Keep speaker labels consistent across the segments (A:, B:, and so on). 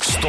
A: Stå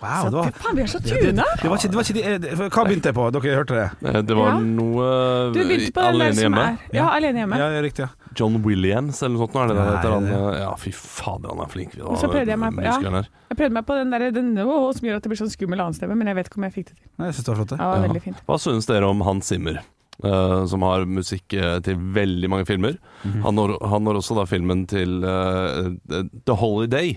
B: Wow, det var,
C: Faen, vi er så tuna!
B: det var ikke, det var ikke de, eh, Hva begynte jeg på? Dere hørte det?
D: Eh, Det var
C: Ja.
D: noe eh,
C: Du begynte på den der
D: alene
C: som
D: hjemme.
C: er Ja, alene hjemme.
B: Ja, riktig. ja.
D: John Williams eller noe sånt. nå Er det det
B: Nei,
D: heter han,
B: det-
D: eh, ja, fy fader, han er flink.
C: Og så prøvde jeg meg på- ja.
D: Musikeren her.
C: Jeg prøvde meg på den der den, å, som gjør at det blir sånn skummel annenstemme, men jeg vet ikke om jeg fikk det til.
B: Nei, Jeg syns det var flott. det.
C: Ja,
D: Ja.
C: veldig fint.
D: Hva synes dere om Hans Zimmer? eh, som har musikk eh, til veldig mange filmer.
B: Mhm.
D: han, har, han har også da filmen til eh, The Holiday.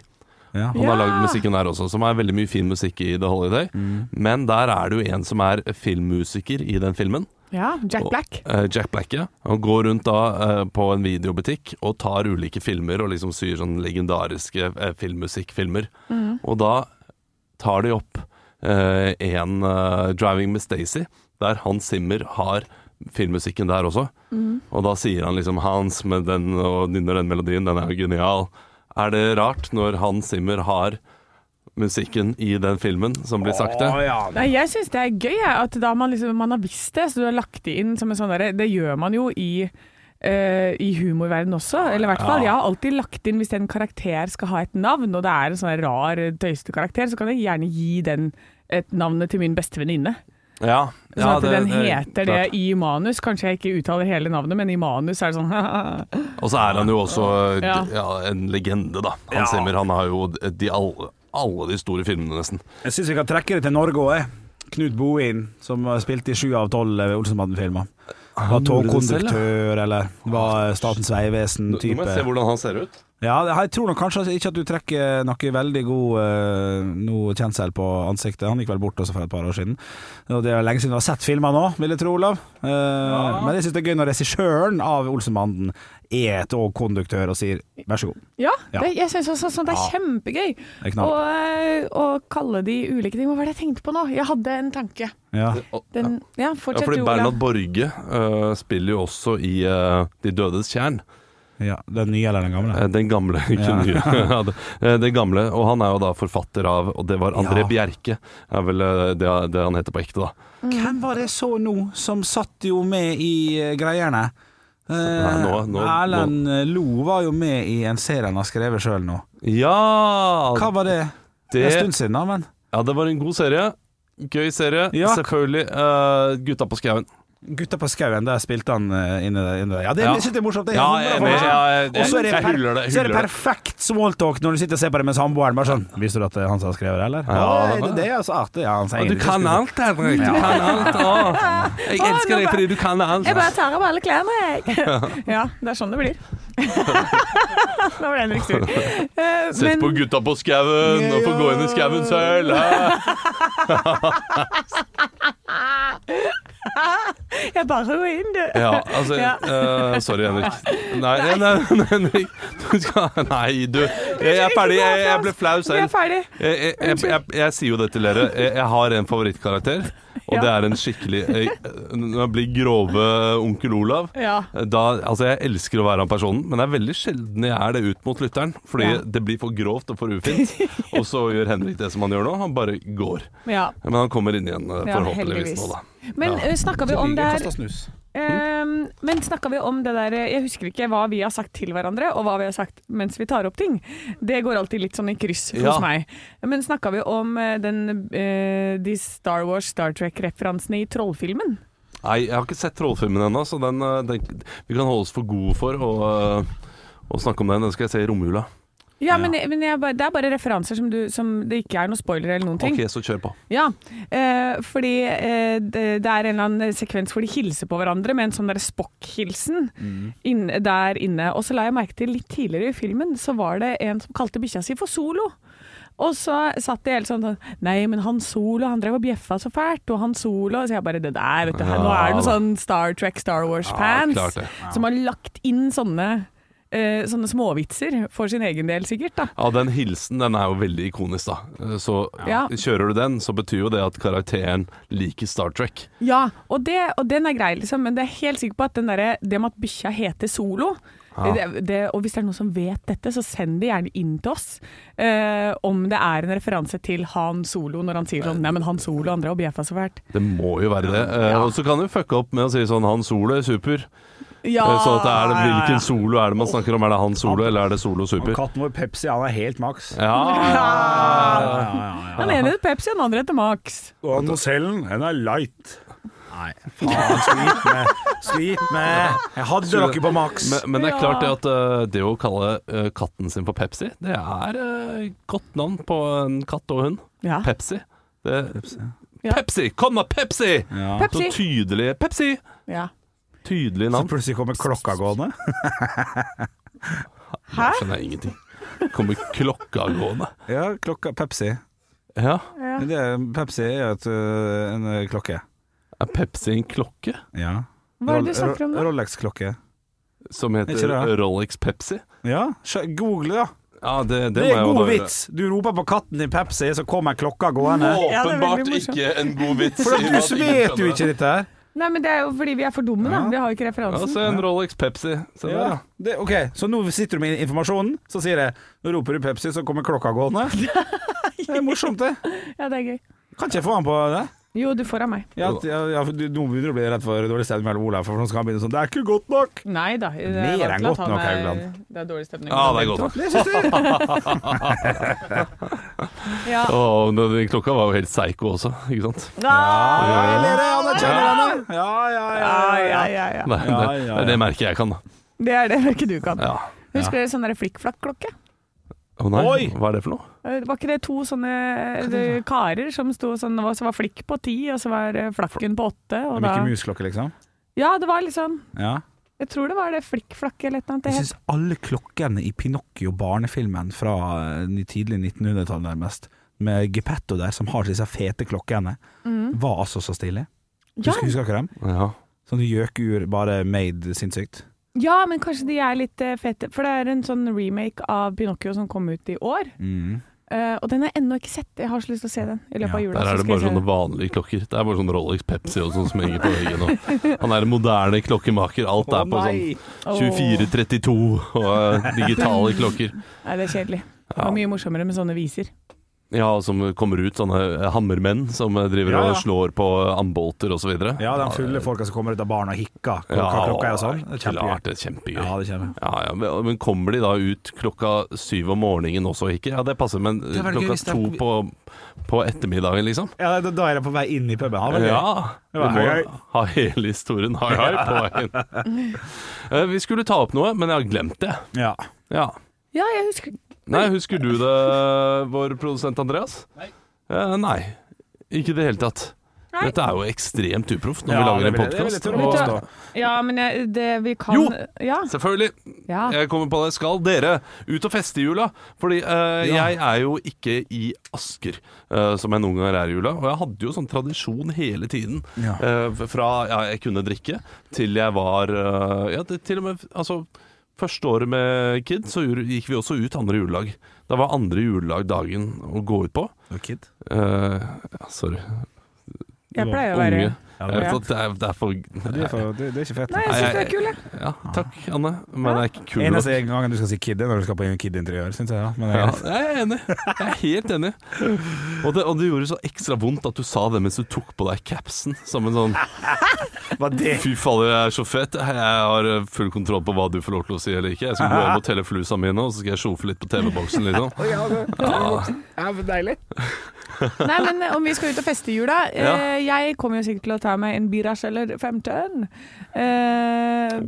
B: Ja.
D: Han har
C: Ja.
D: lagd musikken der også, som er veldig mye fin musikk i The Holiday. Men der er det jo en som er filmmusiker i den filmen.
C: Ja, Jack
D: Og-
C: Black.
D: Eh, Jack Black, ja. Han går rundt da eh, på en videobutikk og tar ulike filmer og liksom syr sånn legendariske eh, filmmusikkfilmer.
C: Mhm.
D: Og da tar de opp eh, en eh, 'Driving Miss Daisy', der Hans Zimmer har filmmusikken der også.
C: Mhm.
D: Og da sier han liksom 'Hans' med den og nynner den melodien, den er jo genial. Er det rart når Hans Zimmer har musikken i den filmen som blir sagt det?
B: Å, ja.
C: Nei, jeg syns det er gøy jeg, at da man, liksom, man har visst det, så du har lagt det inn som en sånn derre Det gjør man jo i eh, i humorverdenen også, eller i hvert fall. Jeg har alltid lagt inn, hvis en karakter skal ha et navn, og det er en sånn rar, tøyste karakter, så kan jeg gjerne gi den et navnet til min beste venninne.
D: Ja,
C: Sånn
D: ja,
C: at den heter det
D: klart.
C: i manus. Kanskje jeg ikke uttaler hele navnet, men i manus er det sånn
D: Og så er han jo også ja.
C: Ja.
D: en legende, da. Hans Zimmer han har jo de, alle, alle de store filmene, nesten.
B: Jeg syns vi kan trekke det til Norge òg, jeg. Knut Bohin, som spilte i sju av tolv eh, Olsenbanden-filmer. Var
D: gjorde det selv, ja.
B: togkonduktør, eller var Statens
D: Nå må jeg se
B: vegvesen-type.
D: hvordan han ser ut.
B: Ja, jeg tror nok kanskje ikke at du trekker noe veldig god eh, noe kjensel på ansiktet. Han gikk vel bort også for et par år siden. Og Det er lenge siden du har sett filmer nå, vil jeg tro, Olav. Eh, Men jeg syns det er gøy når regissøren av Olsenbanden er togkonduktør og sier vær så god.
C: Ja,
B: Ja.
C: Det, jeg syns også sånn, det er kjempegøy
B: Det er
C: å, eh,
B: knall.
C: å kalle de ulike ting. Hva var det jeg tenkte på nå? Jeg hadde en tanke.
B: Ja.
C: Den, ja,
D: Ja,
C: fortsett
D: fordi
C: du, Olav.
D: Bernhard Borge eh, spiller jo også i eh, De dødes tjern.
B: ja. Den nye eller den gamle?
D: Eh, Den gamle, ikke
B: Ja.
D: den nye. Ja, det- eh, Den gamle, og han er jo da forfatter av Og det var André
B: Ja.
D: Bjerke, er vel eh, det, det han heter på ekte, da.
B: Hvem var det jeg så nå, som satt jo med i eh, greiene? Eh,
D: Nei, nå- nå-
B: Erlend Lo var jo med i en serie han har skrevet sjøl nå.
D: Ja!
B: Hva var det? Det er en
D: det,
B: stund siden, da, men
D: ja, det var en god serie. Gøy serie.
B: Ja.
D: Selvfølgelig. eh, Gutta på skauen.
B: Gutta på skauen, der spilte han eh, inni der. Inni der. Ja, det
D: Ja.
B: synes jeg er morsomt. Det er
D: Ja, jeg er
B: hundre
D: enig.
B: prosent.
D: Ja, jeg-
B: Og så er det,
D: jeg
B: per-
D: hyller det, jeg
B: så er det
D: hyller det.
B: perfekt smalltalk når du sitter og ser på det med samboeren. Bare sånn 'Visste du at det er han som har skrevet det, eller?' Ja,
D: Ja.
B: er det det? Altså, artig. Ja, han sier
D: Ja, du
B: egentlig
D: kan
B: ikke-
D: alt, Henrik. Du kan alt. Å, jeg
C: Å,
D: elsker
C: nå
D: deg
C: bare-
D: fordi du kan alt.
C: Jeg bare tar av alle klærne, jeg. ja, det er sånn det blir. Nå ble Henrik sur. Eh,
D: Sett på gutta på skauen og få gå inn i skauen selv. hæ?
C: jeg bare går inn, du.
D: Ja, altså
C: Ja.
D: eh, Sorry, Henrik. Nei, nei, nei, nei Henrik. Du skal Nei, du. Jeg er ferdig. Jeg, jeg ble flau
C: Vi er
D: selv.
C: ferdig.
D: Jeg, jeg, jeg, jeg, jeg sier jo det til dere. Jeg, jeg har en favorittkarakter, og
C: Ja.
D: det er en skikkelig jeg, Når jeg blir grove onkel Olav
C: Ja.
D: da, altså Jeg elsker å være han personen, men det er veldig sjelden jeg er det ut mot lytteren. Fordi
C: Ja.
D: det blir for grovt og for ufint. Og så gjør Henrik det som han gjør nå, han bare går.
C: ja.
D: Men han kommer inn igjen, eh,
C: Ja,
D: forhåpentligvis.
C: heldigvis.
D: nå da
C: Men
D: Ja.
C: ja. snakka vi om det her
B: snus.
C: Ehm, men snakka vi om det der Jeg husker ikke hva vi har sagt til hverandre, og hva vi har sagt mens vi tar opp ting. Det går alltid litt sånn i kryss
D: Ja.
C: hos meg. Men snakka vi om eh, den, eh, de Star Wars, Star Trek-referansene i Trollfilmen?
D: Nei, jeg har ikke sett Trollfilmen ennå, så den, eh, den, vi kan holde oss for gode for å, eh, å snakke om den. Den skal jeg se i romjula.
C: Ja, men, men jeg, bare- det er bare referanser som, du, som det ikke er noe spoiler eller noen ting.
D: Ok, så kjør på.
C: Ja, eh, fordi eh, det, det er en eller annen sekvens hvor de hilser på hverandre med en sånn der Spock-hilsen
D: Mm.
C: inn- der inne. Og så la jeg merke til litt tidligere i filmen, så var det en som kalte bikkja si for Solo. Og så satt de helt sånn sånn, Nei, men han Solo, han drev og bjeffa så fælt, og han Solo Så jeg bare Det der, vet du. her- Nå er det noen sånn Star Trek, Star Wars-fans
D: klart det.
C: som har lagt inn sånne eh, Sånne småvitser for sin egen del, sikkert. da
D: Ja, den hilsen den er jo veldig ikonisk, da. Eh, Så
C: Ja.
D: kjører du den, så betyr jo det at karakteren liker Star Trek.
C: Ja, og, det, og den er grei, liksom, men det er helt sikker på at den derre- det med at bikkja heter Solo Det, det, og hvis det er noen som vet dette, så send det gjerne inn til oss. eh, om det er en referanse til Han Solo når han sier sånn Nei, men Han Solo og andre har bjeffa så fælt.
D: Det må jo være det. Eh, Og så kan du fucke opp med å si sånn Han Solo er super.
C: Ja,
D: Eh, Så at det er,
B: ja.
D: hvilken solo er det man snakker om? Er det han solo, eller er det solo
B: Og
D: super?
B: Katten vår Pepsi, han er helt maks.
D: Ja,
B: Ja, ja, ja.
C: Han ene heter Pepsi, og den andre heter Max.
B: Og Nocellen, den er light. Nei, faen, slit med. Slit med. Jeg hadde dere på maks.
D: Men, men det er
C: Ja.
D: klart det at eh, det å kalle eh, katten sin for Pepsi, det er eh, godt navn på en katt og hund.
C: Ja.
D: Pepsi. Det,
C: Ja.
D: Pepsi! Kom da, Pepsi!
B: Ja.
C: Pepsi!
D: Så tydelig Pepsi!
C: Ja.
D: Tydelig
B: Så
D: navn.
B: plutselig kommer klokka gående.
C: Hæ?
D: Jeg skjønner ingenting. Kommer klokka gående.
B: Ja, klokka Pepsi.
D: Ja,
C: Ja.
B: Det er, Pepsi er jo et, øh, en øh, klokke.
D: er Pepsi en klokke
B: Ja.
C: Hva er det du snakker om nå?
B: Rolex-klokke.
D: som
B: Ikke
D: heter
B: det.
D: Rolex Pepsi?
B: Ja, skjø- google, da.
D: Ja, det,
B: Det
D: det, må
B: er
D: jeg jo
B: god
D: da gjøre.
B: vits. Du roper på katten din Pepsi, så kommer klokka gående.
C: Ja, det er veldig
D: Åpenbart
C: morsomt.
D: ikke en god vits.
B: For
D: i
B: at
D: og
B: du
D: med at
B: vet
D: ingen
B: jo
D: skjønner
B: ikke dette her.
C: Nei, men det er jo fordi vi er for dumme, da.
B: Ja.
C: Vi har jo ikke
D: Ja,
C: referansen.
D: se en Rolex Pepsi. Se der,
B: Ja,
D: ja.
B: det, ok, Så nå sitter du med informasjonen, så sier jeg Nå roper du Pepsi, så kommer klokka gående. Det er morsomt, det.
C: Ja, det er gøy.
B: Kan ikke jeg få han på det?
C: Jo, du får av meg.
B: Ja, ja, ja, for du- Nå begynner du å bli redd for dårlig stemning mellom Olav og Frans. Han begynner sånn Det er ikke godt nok!
C: Nei da. det er
B: Mer enn
C: vant til at
B: godt
C: han
B: nok,
C: er-
B: Haugland.
C: Det er dårlig stemning.
D: ja, det er godt nok.
B: Det syns du!
C: Ja.
D: Å, men den klokka var jo helt psycho også, ikke sant?
C: Ja.
B: Ja, jeg ler, jeg. Anne, kjenner henne. Ja, ja, ja.
C: Ja,
B: ja,
C: ja,
B: ja.
C: ja, ja.
D: Det, er-
B: Ja,
D: det,
B: ja,
D: det er
B: ja.
D: det merket jeg kan, da.
C: Det er det ikke du kan.
D: Ja.
C: Husker dere sånn der flikkflakk-klokke?
D: Å nei,
B: Oi!
D: hva er det for noe?
C: Eh, Var ikke det to sånne eh, karer som sto sånn og så var flikk på ti, og så var eh, flakken på åtte? Og da...
B: Mikke Mus-klokke, liksom.
C: Ja, det var litt sånn.
B: Ja.
C: Jeg tror det var det flikkflakk eller et eller annet. det
B: Jeg
C: het.
B: syns alle klokkene i Pinocchio-barnefilmen fra eh, ny- tidlig 1900-tall nærmest, med Geppetto der, som har disse fete klokkene, var altså så stille.
C: Mm. Ja,
B: Husker, husker dere dem?
D: Ja.
B: Sånne gjøkur, bare made sinnssykt.
C: ja, men kanskje de er litt eh, fete. For det er en sånn remake av Pinocchio som kom ut i år.
B: Mm.
C: Eh, og den har jeg ennå ikke sett. Jeg har så lyst til å se den i løpet
B: Ja,
C: av jula. så
D: Der er det
C: skal
D: bare
C: jeg se
D: sånne
C: den.
D: vanlige klokker. Det er bare sånn Rolex Pepsi og sånn som henger på veggen. Og. Han er en moderne klokkemaker. Alt er på sånn 2432 og eh, digitale klokker.
C: Nei, det er kjedelig. Det var mye morsommere med sånne viser.
D: Ja, som kommer ut sånne eh, hammermenn som driver
B: Ja, ja.
D: og slår på ambolter osv.
B: Ja, de fulle folka som kommer ut av baren og hikker. Klokka, klokka er og sånn. Det er kjempegøy.
D: klart det er kjempegøy.
B: Ja, det kommer.
D: Ja, ja, men men kommer de da ut klokka syv om morgenen også, ikke? Ja, det passer, men
B: er veldig gøy
D: klokka
B: hvis det er-
D: to på, på ettermiddagen, liksom?
B: Ja, da, da er de på vei inn i puben. Ja, vel, ja.
D: Ja,
B: Det
D: vi
B: var
D: må
B: hei, hei.
D: ha hele historien hei, hei på veien. Eh, Vi skulle ta opp noe, men jeg har glemt det.
B: ja.
D: Ja.
C: Ja, jeg husker
D: Nei, husker du det, vår produsent Andreas? Nei. nei, ikke i det hele tatt.
C: Nei.
D: Dette er jo ekstremt uproft når
B: Ja,
D: vi lager
B: det
D: en
B: vil jeg- det vil jeg
D: podkast.
B: tro. Vet du hva?
C: Ja, men jeg, det vi kan
D: Jo!
C: Ja.
D: Selvfølgelig.
C: ja.
D: Jeg kommer på det. Skal dere ut og feste i jula? Fordi eh,
B: Ja.
D: jeg er jo ikke i Asker, eh, som jeg noen ganger er i jula. Og jeg hadde jo sånn tradisjon hele tiden.
B: Ja.
D: Eh, fra ja, jeg kunne drikke, til jeg var eh, Ja, det, til og med Altså, første året med Kid, så gjorde- gikk vi også ut andre juledag. Da var andre juledag dagen å gå ut på.
B: Kid.
D: Eh, ja, sorry.
C: Jeg pleier å være
D: Unge.
B: Ja,
D: Jeg
B: det,
D: vet at det er, det er for
B: er for, det, det er ikke fett.
C: Nei, jeg syns du er kul, jeg.
D: Ja, takk, Anne. Men det er ikke kult.
B: Eneste gangen du skal si kid, er når du skal på kid-interiør, syns jeg. da. Men det
D: Ja,
B: er-
D: jeg er enig. Jeg er helt enig. Og det, og det gjorde så ekstra vondt at du sa det mens du tok på deg capsen. Som en sånn
B: Hva det
D: Fy fader, jeg er så fett. Jeg har eh, full kontroll på hva du får lov til å si eller ikke. Jeg skal gå hjem og telle flusa mine, og så skal jeg sjofe litt på TV-boksen, liksom.
C: Nei, men eh, om vi skal ut og feste i jula eh, Jeg kommer jo sikkert til å ta meg en biras eller 15. Eh,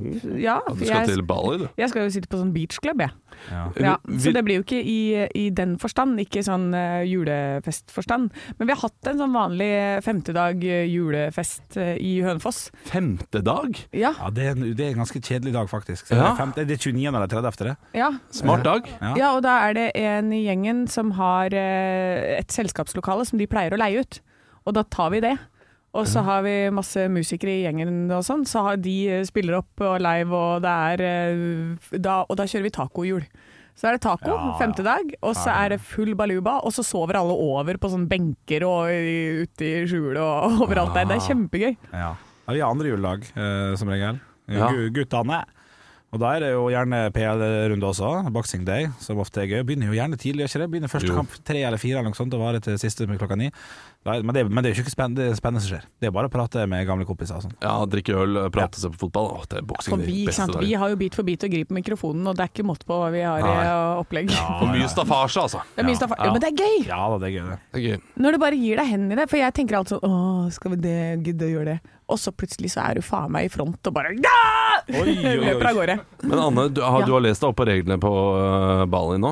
C: ja,
D: Ja,
C: for
D: Du skal
C: jeg,
D: til Bali, du.
C: jeg skal jo sitte på sånn beachclub, jeg.
B: Ja.
C: Ja, så
D: Vil-
C: det blir jo ikke i, i den forstand, ikke sånn eh, julefestforstand. Men vi har hatt en sånn vanlig femtedag eh, julefest eh, i Hønefoss.
D: Femte dag?
C: Ja,
B: Ja, det er, en, det er en ganske kjedelig dag, faktisk. Så
D: Ja.
B: det, er femte, det er 29. eller 30. efter det.
C: ja.
D: Smart dag.
B: Ja.
C: Ja, og da er det en i gjengen som har eh, et selskapslokale som de pleier å leie ut. Og da tar vi det. Og så har vi masse musikere i gjengen og sånn, så har de eh, spiller opp og live, og det er eh, f- da, Og da kjører vi tacohjul. Så er det taco
B: Ja,
C: femte dag, og så er det full baluba, og så sover alle over på sånne benker og i- ute i skjulet og overalt
B: Ah.
C: der. Det er kjempegøy.
B: Ja. Ja, vi har andre juledag, eh, som regel.
D: Ja.
B: Gu- Guttene Og da er det jo gjerne PL-runde også, Boxing Day, som ofte er gøy. Begynner jo gjerne tidlig, gjør ikke det? Begynner første
D: Jo.
B: kamp tre eller fire eller noe sånt, og varer til siste med klokka ni. Da er- Men det, men det er jo ikke spenn- det er spennende som skjer. Det er bare å prate med gamle kompiser og sånn.
D: Ja, drikke øl, eh, prate seg på fotball. Åh, det er boksing.
C: For vi, ikke sant? vi har jo Bit for bit å gripe mikrofonen, og det er ikke måte på hva vi har i
D: Nei.
C: uh, opplegg.
D: For mye staffasje, altså.
C: Det er mye staffa- Jo, men det er gøy!
B: Ja da, det er gøy, det.
D: Det er gøy.
C: Når du bare gir deg hendene i det. For jeg tenker alltid sånn Å, skal vi det, gidde å gjøre det? Og så plutselig så er du faen meg i front og bare «Ja!»
B: Oi, oi, oi.
C: Løper av gårde.
D: Men Anne, du har,
C: Ja.
D: du har lest deg opp på reglene på øh, Bali nå?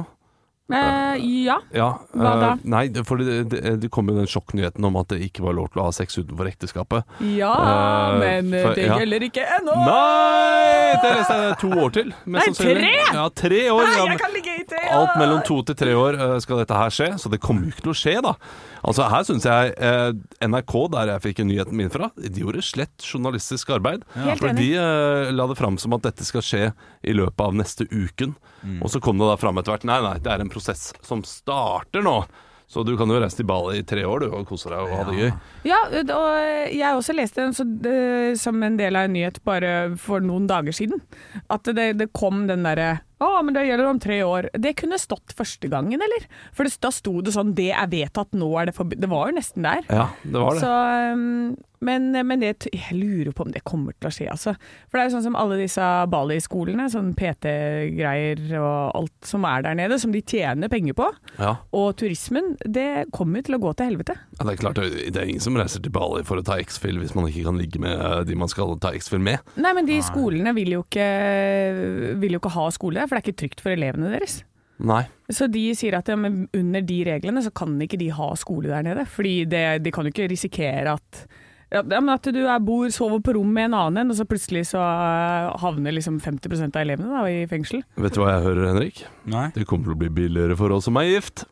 C: Eh, ja.
D: Ja.
C: Hva
D: eh,
C: da?
D: nei, for det, det, det kom jo den sjokknyheten om at det ikke var lov til å ha sex utenfor ekteskapet.
C: Ja,
D: Eh,
C: men eh,
D: for-
C: det
D: ja.
C: gjelder ikke ennå!
D: Nei! Det leste jeg to år til. mest
C: Nei,
D: sannsynlig.
C: tre!
D: Ja, tre år.
C: Nei,
D: ja, men-
C: jeg kan ligge i tre år!
D: Alt mellom to til tre år eh, skal dette her skje, så det kommer jo ikke til å skje, da. Altså Her syns jeg eh, NRK, der jeg fikk nyheten min fra, de gjorde slett journalistisk arbeid.
C: Helt
D: For
C: enig.
D: de eh, la det fram som at dette skal skje i løpet av neste uken. Og så kom det da fram etter hvert Nei, nei, det er en prosess som starter nå. Så du kan jo reise til Bali i tre år du, og kose deg og ha det gøy.
C: Ja, og eh, jeg også leste en så, eh, som en del av en nyhet bare for noen dager siden. At det, det kom den derre Å, men det gjelder om tre år. Det kunne stått første gangen, eller? For det, da sto det sånn Det er vedtatt, nå er det forbi Det var jo nesten der.
D: Ja, det var det.
C: Så, um, men, men det, t- jeg lurer på om det kommer til å skje, altså. For det er jo sånn som alle disse Bali-skolene, sånn PT-greier og alt som er der nede, som de tjener penger på.
D: Ja.
C: Og turismen, det kommer jo til å gå til helvete.
D: Ja, det er klart, det er ingen som reiser til Bali for å ta X-Fill hvis man ikke kan ligge med eh, de man skal ta X-Fill med.
C: Nei, men de skolene vil jo ikke, vil jo ikke ha skole der, for det er ikke trygt for elevene deres.
D: Nei.
C: Så de sier at ja, men under de reglene så kan ikke de ha skole der nede, fordi det, de kan jo ikke risikere at ja, men At du er bor, sover på rom med en annen en, og så plutselig så eh, havner liksom 50 av elevene da, i fengsel.
D: Vet du hva jeg hører, Henrik?
B: Nei.
D: Det kommer til å bli billigere for oss som er gift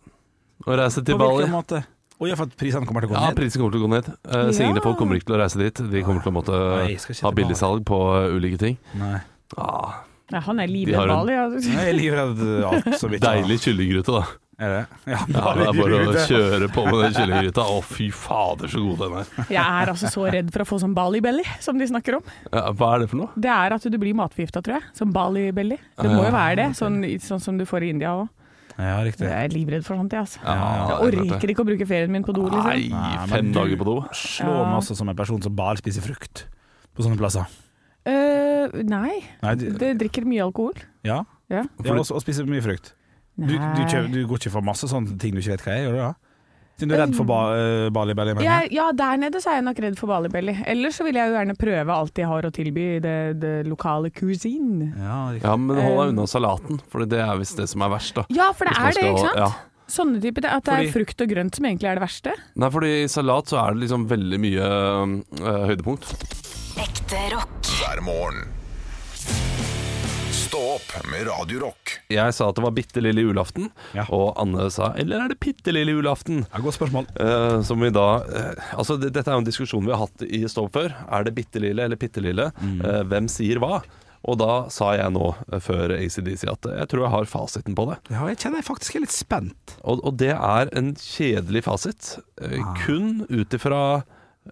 D: å reise til
B: På
D: Bali.
B: hvilken måte? Å ja, for at prisene kommer til å gå
D: Ja,
B: ned?
D: prisen kommer til å gå ned. Eh, Single
C: Ja.
D: folk kommer ikke til å reise dit. De kommer til å måtte
B: Nei, skal ikke
D: ha
B: til Bali.
D: billigsalg på eh, ulike ting.
B: Nei.
D: Ah,
C: Ja, han er
D: De har
C: livredd
D: en-
C: Bali. ja.
B: Nei, Jeg er livredd alt som ikke
D: deilig kyllinggryte, da.
B: Er det? Ja,
D: Ja, det er bare å
B: livredd.
D: kjøre på med den kyllinggryta. Å, fy fader, så god den er.
C: Jeg er altså så redd for å få sånn Bali-belly, som de snakker om.
D: Ja, hva er det for noe?
C: Det er at du blir matforgifta, tror jeg. Som Bali-belly. Det må jo
D: Ah.
C: være det, sånn, sånn som du får i India òg.
B: Ja, riktig.
C: Jeg er livredd for sånt, jeg, altså.
D: Ja,
C: Jeg
D: det er klart det.
C: orker ikke å bruke ferien min på do, liksom.
D: Nei,
B: Nei, men
D: fem
B: du-
D: dager på do.
B: Slår meg også som en person som bare spiser frukt på sånne plasser.
C: Eh, nei,
B: Nei, du,
C: det drikker mye alkohol.
B: ja,
C: Ja.
B: ja og, og spiser mye frukt. Du, du, kjø- du går ikke for masse sånne ting du ikke vet hva er, gjør du da? Siden du er redd for ba, eh, Bali Belly? mener jeg.
C: Jeg, ja, der nede så er jeg nok redd for Balibelly. Ellers så vil jeg jo gjerne prøve alt de har å tilby i det, det lokale cuisine.
B: Ja, riktig.
D: Ja, men hold deg unna salaten, for det er visst det som er verst, da.
C: Ja, for det
D: Hvis man
C: er det,
D: skal-
C: ikke sant?
D: ja.
C: Sånne typer, At det
B: Fordi-
C: er frukt og grønt som egentlig er det verste.
D: Nei, fordi i salat så er det liksom veldig mye eh, høydepunkt.
E: Ekte rock.
A: hver morgen. Stå opp med Radio Rock.
D: Jeg sa at det var bitte lille julaften,
B: Ja.
D: og Anne sa 'eller er det bitte lille julaften'?
B: Ja, godt spørsmål.
D: Eh, som vi da eh, Altså, det, dette er jo en diskusjon vi har hatt i Stå opp før. Er det bitte lille eller bitte lille? Eh, hvem sier hva? Og da sa jeg nå, eh, før ACDC, at jeg tror jeg har fasiten på det.
B: Ja, jeg kjenner jeg faktisk er litt spent.
D: Og, og det er en kjedelig fasit. eh, Kun ut ifra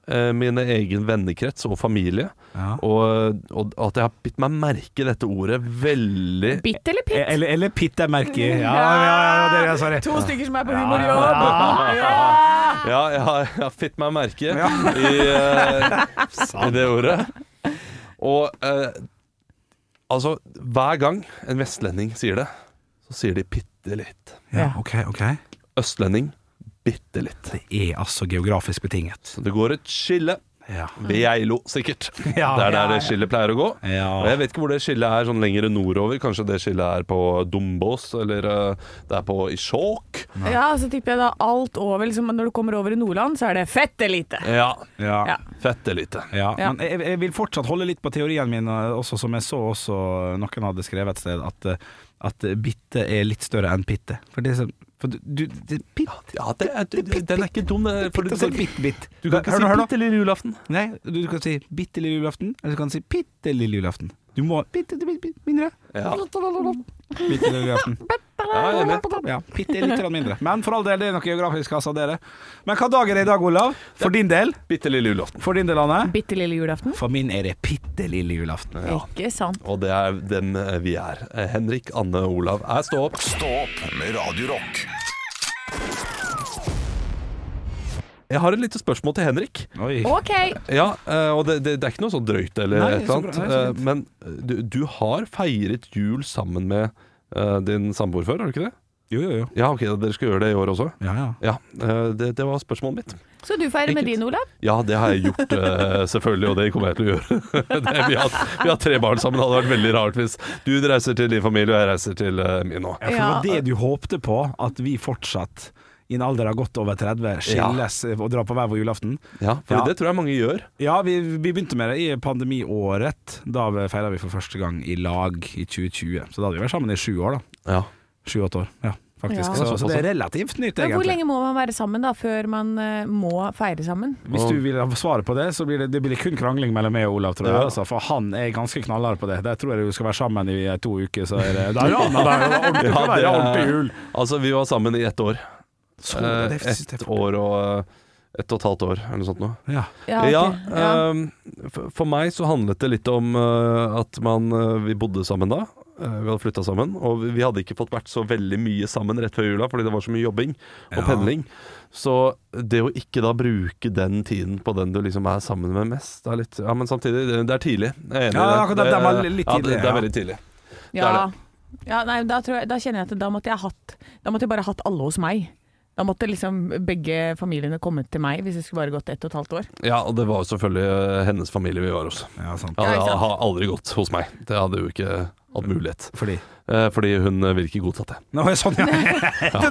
D: eh, mine egen vennekrets og familie.
B: Ja.
D: Og, og at jeg har bitt meg merke i dette ordet veldig
C: Bitt eller
B: Eh,
C: pitt?
B: Eller, eller pitt er merke. Ja, ja, ja, ja, det er jeg sorry.
C: To stykker som er på humorjobb! Ja.
D: Ja, jeg har, jeg har fitt meg merke i, eh, i det ordet. Og eh, altså, hver gang en vestlending sier det, så sier de bitte litt.
B: Ja, ok, ok.
D: Østlending bitte litt.
B: Det er altså geografisk betinget.
D: Så det går et skille
B: Ja.
D: ved Geilo, sikkert.
B: Ja,
D: det
B: ja,
D: er der
B: ja.
D: det skillet pleier å gå.
B: Ja.
D: Og jeg vet ikke hvor det skillet er sånn lenger nordover. Kanskje det skillet er på Dombås, eller eh, det er på Isjåk.
C: ja, så tipper jeg da alt over liksom, Når du kommer over i Nordland, så er det fett elite.
D: Ja.
B: Ja.
C: Ja.
D: Fette lite.
B: Ja,
C: Ja.
B: men jeg, jeg vil fortsatt holde litt på teorien min, eh, også som jeg så også noen hadde skrevet et sted, at, eh, at bitte er litt større enn pitte. For det er sånn for du, du det, pitt,
D: Ja, det er, den er ikke dum, det, for du,
B: pitt, altså, bitt, bitt.
D: du kan ikke si
B: hør nå.
D: bitte lille julaften.
B: Nei, du, du kan si bitte lille julaften, eller du kan si bitte lille julaften. Du må bitte, bitte, bitte mindre.
D: Ja.
B: Bitte lille julaften.
D: Ja, jeg er enig.
B: Ja, Bitte litt grann mindre. Men for all del, det er noe geografisk altså, dere. Men hva dag er det i dag, Olav? For din del?
D: Bitte lille julaften.
B: For din del, Anne?
C: Bitte lille julaften.
B: For min er det bitte lille julaften.
C: Ikke sant.
D: Og det er den vi er. Eh, Henrik, Anne og Olav er stå opp.
A: Stå opp med Radio Rock.
D: Jeg har et lite spørsmål til Henrik.
B: Oi.
C: OK.
D: Ja, eh, og det, det, det er ikke noe sånn drøyt eller
B: Nei,
D: et
B: så
D: eller
B: bra. Nei, så
D: annet. eh, Men du, du har feiret jul sammen med eh, din samboer før, har du ikke det?
B: Jo, jo, jo.
D: Ja, ok, dere skal gjøre det i år også.
B: Ja, ja.
D: Ja, eh, det, det var spørsmålet mitt.
C: Så du feirer med din, Olav?
D: Ja, det har jeg gjort, eh, selvfølgelig, og det kommer jeg til å gjøre. det, vi, har, vi har tre barn sammen, det hadde vært veldig rart hvis du reiser til din familie, og jeg reiser til eh, min nå.
B: Ja, for Det var det du håpte på, at vi fortsatt, i en alder av godt over 30, skilles eh, og drar på hver vår julaften.
D: Ja, for
B: Ja.
D: det tror jeg mange gjør.
B: Ja, vi, vi begynte med det i pandemiåret. Da feira vi for første gang i lag i 2020. Så da hadde vi vært sammen i sju år, da.
D: Ja.
B: Sju-åtte år, ja, faktisk.
C: Ja.
B: Så, så det er relativt nytt,
C: Men hvor
B: egentlig.
C: lenge må man være sammen da, før man eh, må feire sammen?
B: Hvis du vil ha svaret på det, så blir det, det blir kun krangling mellom meg og Olav, tror jeg.
D: Ja.
B: Altså, for han er ganske knallhard på det. Der tror jeg du skal være sammen i to uker, så er det Da er det annet, da er det ordentlig,
D: Ja,
B: da er det ordentlig
D: det-
B: jul.
D: Altså, vi var sammen i ett år.
B: Så,
D: Eh,
B: det synes jeg
D: Ett
B: er-
D: år og eh, ett og et halvt år, eller noe sånt noe.
B: ja.
C: Ja, ok.
D: Ja,
C: ja.
D: ehm, for, for meg så handlet det litt om eh, at man, eh, vi bodde sammen da. Eh, vi hadde flytta sammen, og vi, vi hadde ikke fått vært så veldig mye sammen rett før jula fordi det var så mye jobbing og
B: Ja.
D: pendling. Så det å ikke da bruke den tiden på den du liksom er sammen med mest, er litt Ja, men samtidig, det, det er tidlig. Jeg er enig
B: Ja, akkurat,
D: i det.
B: den var litt
D: ja, det,
B: tidlig,
D: det
B: ja.
D: er veldig tidlig.
C: ja.
D: det er
C: ja nei, da, tror jeg, da kjenner jeg at da måtte jeg hatt Da måtte jeg bare hatt alle hos meg. Da måtte liksom begge familiene kommet til meg hvis det skulle bare gått ett og et halvt år.
D: Ja, og det var jo selvfølgelig eh, hennes familie vi var hos.
B: ja, sant.
D: Ja,
C: Ja, ikke
D: det
C: sant?
D: har aldri gått hos meg. Det hadde jo ikke hatt mulighet.
B: Fordi
D: Eh, Fordi hun eh, vil ikke godta det.
B: Nå er det sånn, ja.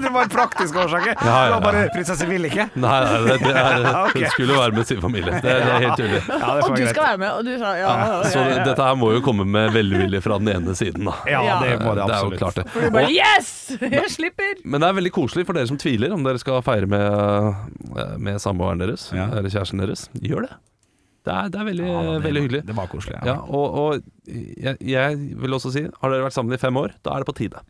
B: det var en praktisk årsak. Det
D: ja, ja.
B: var bare prinsesse vil ikke.
D: Nei, nei det, det er,
B: Ok.
D: hun skulle jo være med sin familie. Det, det er helt tydelig.
B: Ja, det
C: Og
B: får
C: du
B: være
C: skal
B: greit.
C: være med, og du sa ja. ja,
D: Så
C: ja, ja.
D: dette her må jo komme med velvilje fra den ene siden, da.
B: Ja, det må det
D: Det er jo
B: absolutt.
D: klart det.
C: For du bare Yes! Jeg slipper!
D: Men det er veldig koselig for dere som tviler om dere skal feire med, eh, med samboeren deres
B: Ja.
D: eller kjæresten deres. Gjør det. Det er, det er veldig,
B: Ja, det-
D: veldig hyggelig.
B: Det var koselig.
D: Ja, og, og jeg, jeg vil også si, har dere vært sammen i fem år, da er det på tide.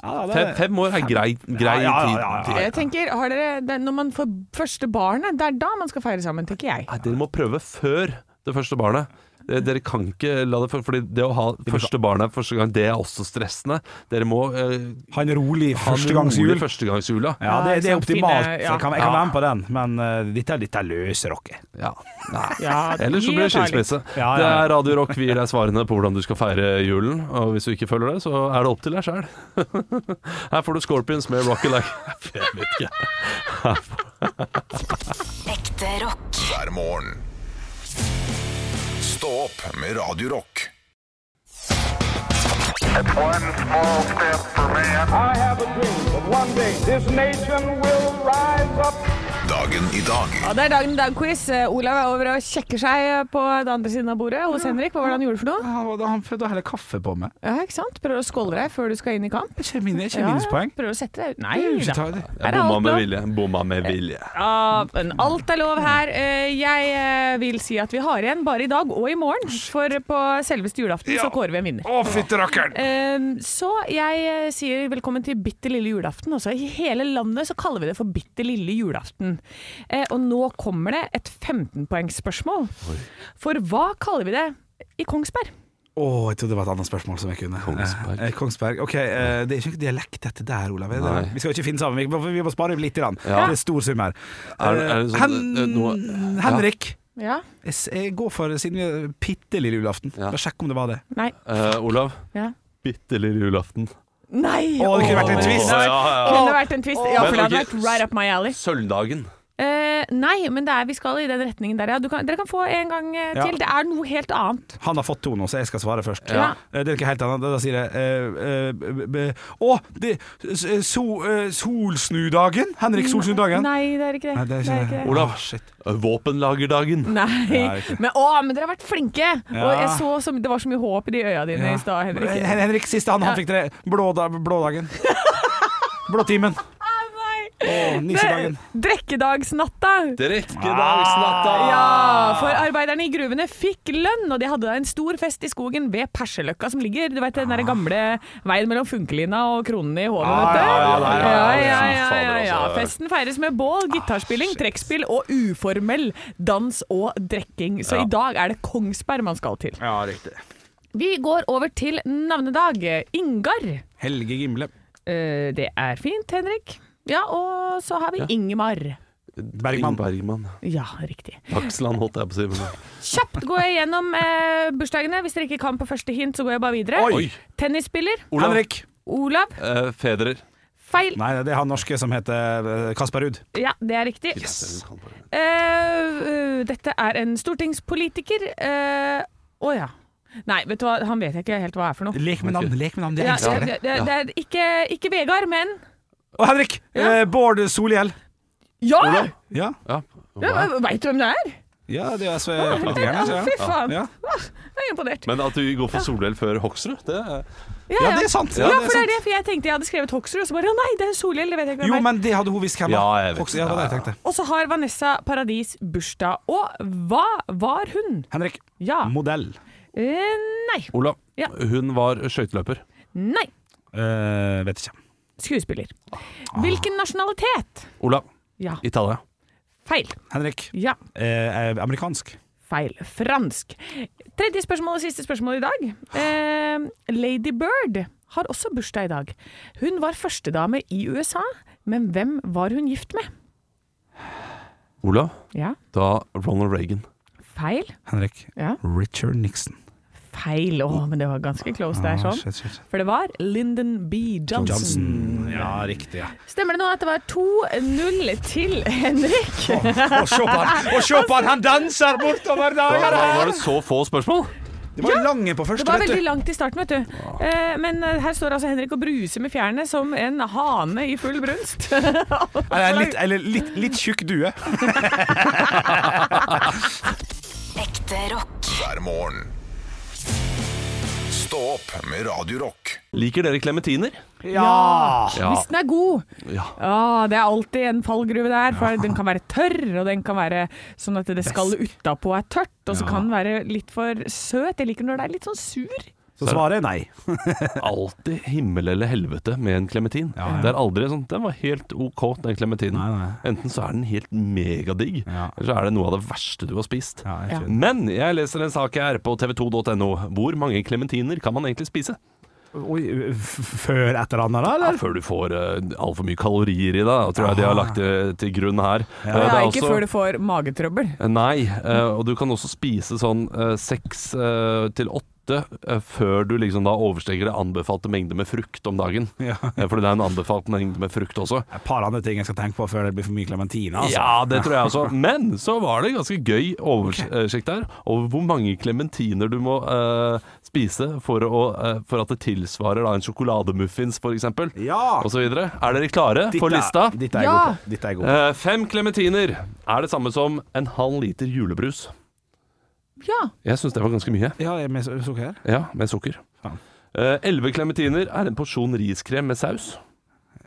B: Ja, det-
D: Fem, fem år er grei, grei
B: Ja, ja, ja,
D: tid.
B: ja,
C: Jeg tenker, har dere, det, er Når man får første barnet, det er da man skal feire sammen, tenker jeg.
D: Nei, dere må prøve før det første barnet. Eh, Dere kan ikke la det for- Fordi det å ha første barnet første gang, det er også stressende. Dere må eh,
B: Ha en rolig
D: ha en rolig
B: førstegangshjul.
D: Førstegangshjula. Ja.
B: Ja, det, det er
C: Ja, ikke sant,
B: optimalt.
C: finne- ja.
B: Jeg kan, jeg kan være med på den, men eh, dette, er- dette er løse rocket.
D: Nei.
C: Ja,
D: Ellers så
C: gi
D: blir
C: og
D: det
C: ta litt.
D: skilsmisse.
B: Ja, ja,
D: Det
B: ja.
D: er Radio Rock vi gir deg svarene på hvordan du skal feire julen. Og hvis du ikke følger det, så er det opp til deg sjæl. Her får du Scorpions med Rocky Like Jeg vet ikke.
E: Ekte rock.
A: hver morgen. Stå opp med Radio Rock.
F: One small step for man. I have a dream that one day this nation will rise up.
A: Dagen i dag
C: Ja, det er dagen i dag-quiz. Eh, Olav er over og sjekker seg eh, på den andre siden av bordet hos Henrik. Hva var det han gjorde for noe?
B: Han, han prøvde å helle kaffe på meg.
C: Ja, ikke sant? Prøver å skåle deg før du skal inn i kamp.
B: Det er ikke min- det er ikke
C: Ja,
B: minuspoeng.
C: Prøver å sette deg ut. Nei
B: Det er jo ikke
C: da.
B: ta- det-
C: Her
D: Jeg
C: er
D: bomma
C: alt
D: med
C: lov.
D: vilje. Bomma med vilje.
C: Ja, men alt er lov her. Eh, Jeg eh, vil si at vi har igjen bare i dag og i morgen, for på selveste julaften så kårer vi en vinner.
B: Å, fytti rakkeren!
C: Eh, Så jeg eh, sier velkommen til bitte lille julaften. Også. I hele landet så kaller vi det for bitte lille julaften. Eh, Og nå kommer det et 15-poengsspørsmål. For hva kaller vi det i Kongsberg?
B: Å, jeg trodde det var et annet spørsmål som jeg kunne.
D: Kongsberg.
B: Eh, eh, Kongsberg. Ok, eh, det er ikke dialekt dette der, Olav. Er det?
D: Nei.
B: Vi skal jo ikke finne sammen. Vi må, vi må spare litt. Grann.
D: Ja.
B: Det er stor sum her.
D: Er det- er det
B: Eh,
D: sånn-
B: Hen-
D: eh, noe- ja.
B: Henrik,
C: Ja.
B: jeg, s- jeg går for siden vi er bitte lille julaften.
D: Ja.
B: Bare sjekk om det var det.
C: Nei.
D: Eh, Olav,
C: Ja.
D: bitte lille julaften.
C: Nei!
B: Å, det kunne vært en
C: Åh.
B: twist.
D: Ja, ja, ja.
C: Kunne vært en twist. Ja,
D: Men
C: for det hadde
D: ok,
C: vært right up my alley.
D: Sølvdagen.
C: Eh, nei, men det er, vi skal i den retningen der, ja. Du kan, dere kan få en gang eh,
B: Ja.
C: til. Det er noe helt annet.
B: Han har fått to nå, så jeg skal svare først.
C: Ja.
B: Eh, Det er ikke helt annet. Da sier jeg eh, eh, b- b- Å, det s- eh, so, eh, Solsnudagen? Henrik Solsnudagen?
C: Nei, det er ikke det.
B: Nei, det er ikke det.
D: Olav.
B: Å, shit.
D: Eh, Våpenlagerdagen.
C: Nei,
B: er ikke det.
C: men å, men dere har vært flinke! Og
B: Ja.
C: jeg så så, det var så mye håp i de øya dine
B: Ja.
C: i stad, Henrik.
B: Hen- Henrik, siste han, han
C: Ja.
B: fikk tre. Blåda, blådagen. Blåtimen.
C: Ah, nei.
B: Å, nissedagen.
C: Drekkedagsnatta!
D: Drikkedagsnatta!
C: Ja, for arbeiderne i gruvene fikk lønn, og de hadde da en stor fest i skogen ved Perseløkka, som ligger du vet, den
B: Ah.
C: der gamle veien mellom Funkelina og Kronene i Hovet,
D: Ja,
C: vet du.
D: ja, ja, der,
C: ja,
D: ja,
C: ja,
D: ja, fy
C: ja,
D: fader,
C: ja, ja.
D: altså. Ah,
C: Festen feires med bål, gitarspilling, trekkspill og uformell dans og drekking. Så i dag er det Kongsberg man skal til.
B: Ja, riktig.
C: Vi går over til navnedag. Ingar.
B: Helge Gimle.
C: Eh, Det er fint, Henrik. Ja, og så har vi Ingemar.
B: Bergman.
D: Bergman.
C: Ja, riktig.
D: Taksland, holdt jeg på å si. men-
C: Kjapt går jeg gjennom eh, bursdagene. Hvis dere ikke kan på første hint, så går jeg bare videre.
D: Oi.
C: Tennisspiller
D: Olav.
B: Henrik.
C: Olav.
D: Eh, Federer.
C: Feil.
B: Nei, det er han norske som heter eh, Kasper Ruud.
C: Ja, det er riktig. Eh, eh, dette er en stortingspolitiker. Eh, Å ja. Nei, vet du hva, han vet jeg ikke helt hva er for noe.
B: Lek med navn, lek med navn.
C: Ja, det, det, det er ikke, ikke Vegard, men
B: Og Henrik!
C: Ja.
B: Eh, Bård Solhjell.
C: Ja!
B: Ja.
D: Ja.
C: ja Veit du hvem det er?
B: ja, det er SV.
C: Ja, fy faen.
B: Ja.
C: Åh, Jeg er imponert.
D: Men at du går for Solhjell før Hoksrud, det er
C: Ja,
B: det er sant.
C: Ja,
B: Ja,
C: for
B: det er
C: det
B: sant.
C: er det, for jeg tenkte jeg hadde skrevet Hoksrud, og så bare å nei, det er Solhjell. det vet jeg ikke hvem
B: Jo,
C: er.
B: men det hadde hun visst hvem
D: Ja,
B: var.
D: jeg vet.
B: Hoks- Ja, det var det jeg tenkte.
C: Og så har Vanessa Paradis bursdag. Og hva var hun?
B: Henrik.
C: Ja.
B: Modell.
C: Eh, nei.
D: Olav.
C: Ja.
D: Hun var skøyteløper.
C: Nei.
B: Eh, vet ikke.
C: Skuespiller.
B: Ah.
C: Hvilken nasjonalitet?
D: Olav.
C: Ja.
D: Italia.
C: Feil.
B: Henrik.
C: Ja.
B: Eh, eh, amerikansk.
C: Feil. Fransk. Tredje spørsmål og siste spørsmål i dag. Eh, Lady Bird har også bursdag i dag. Hun var førstedame i USA, men hvem var hun gift med?
D: Olav.
C: Ja.
D: Da Ronald Reagan.
C: Feil.
B: Henrik.
C: Ja.
B: Richard Nixon.
C: Feil. Å, men det var ganske close der,
B: Ah,
C: sånn.
B: shit, shit, Mm. shit.
C: For det var Lyndon B. Johnson.
B: Johnson. Ja, riktig. ja.
C: Stemmer det nå at det var 2-0 til Henrik?
B: Og se på han, og se på han, han danser bortover
D: Da, da
B: der!
D: var det så få spørsmål!
B: Det var lange på
C: Det
B: første,
C: var
B: vet
C: veldig
B: du.
C: langt i starten, vet du. Eh, Men eh, her står altså Henrik og bruser med fjærene som en hane i full brunst.
B: Eller litt, eller litt, litt tjukk due.
E: Ekte rock.
A: hver morgen. Stå opp med Radio Rock.
D: Liker dere klementiner?
C: Ja!
D: Ja.
C: Hvis den er god.
D: Ja.
C: Ah, det er alltid en fallgruve der, for den kan være tørr, og den kan være sånn at det skallet utapå er tørt, og så kan den være litt for søt. Jeg liker når det er litt sånn sur.
B: Så svaret er nei.
D: Alltid himmel eller helvete med en klementin. Det er aldri sånn Den var helt OK, den
B: Nei,
D: klementinen.
B: nei.
D: Enten så er den helt megadigg,
B: Ja.
D: eller så er det noe av det verste du har spist.
B: Ja, jeg
C: Ja.
B: skjønner.
D: Men jeg leser en sak her på tv2.no. Hvor mange klementiner kan man egentlig spise?
B: Oi, f- før et eller annet, da?
D: Ja,
B: Eller?
D: før du får uh, altfor mye kalorier i deg, tror jeg de har lagt det til grunn her. Eh,
C: Ja,
D: det er
C: ikke
D: også-
C: før du får magetrøbbel.
D: Nei, eh, og du kan også spise sånn eh, seks eh, til åtte eh, før du liksom da oversteger det anbefalte mengde med frukt om dagen.
B: Ja.
D: Eh, Fordi det er en anbefalt mengde med frukt også.
B: Et par andre ting jeg skal tenke på før det blir for mye klementine. Altså.
D: Ja, det tror jeg også. Men så var det ganske gøy oversikt eh, der over hvor mange klementiner du må eh, spise for, å, eh, for at det tilsvarer da, en sjokolademuffins, f.eks.
B: Ja.
D: Og så videre. Er dere klare
B: Ditt
D: for
B: er-
D: lista?
B: Ditt er jeg
C: Ja.
B: god på. Ditt er jeg god på.
D: Eh, fem klementiner er det samme som en halv liter julebrus.
C: Ja.
D: Jeg syns det var ganske mye.
B: Ja, jeg er med su- sukker her.
D: Ja, med sukker.
B: Faen.
D: Eh, Elleve klementiner er en porsjon riskrem med saus.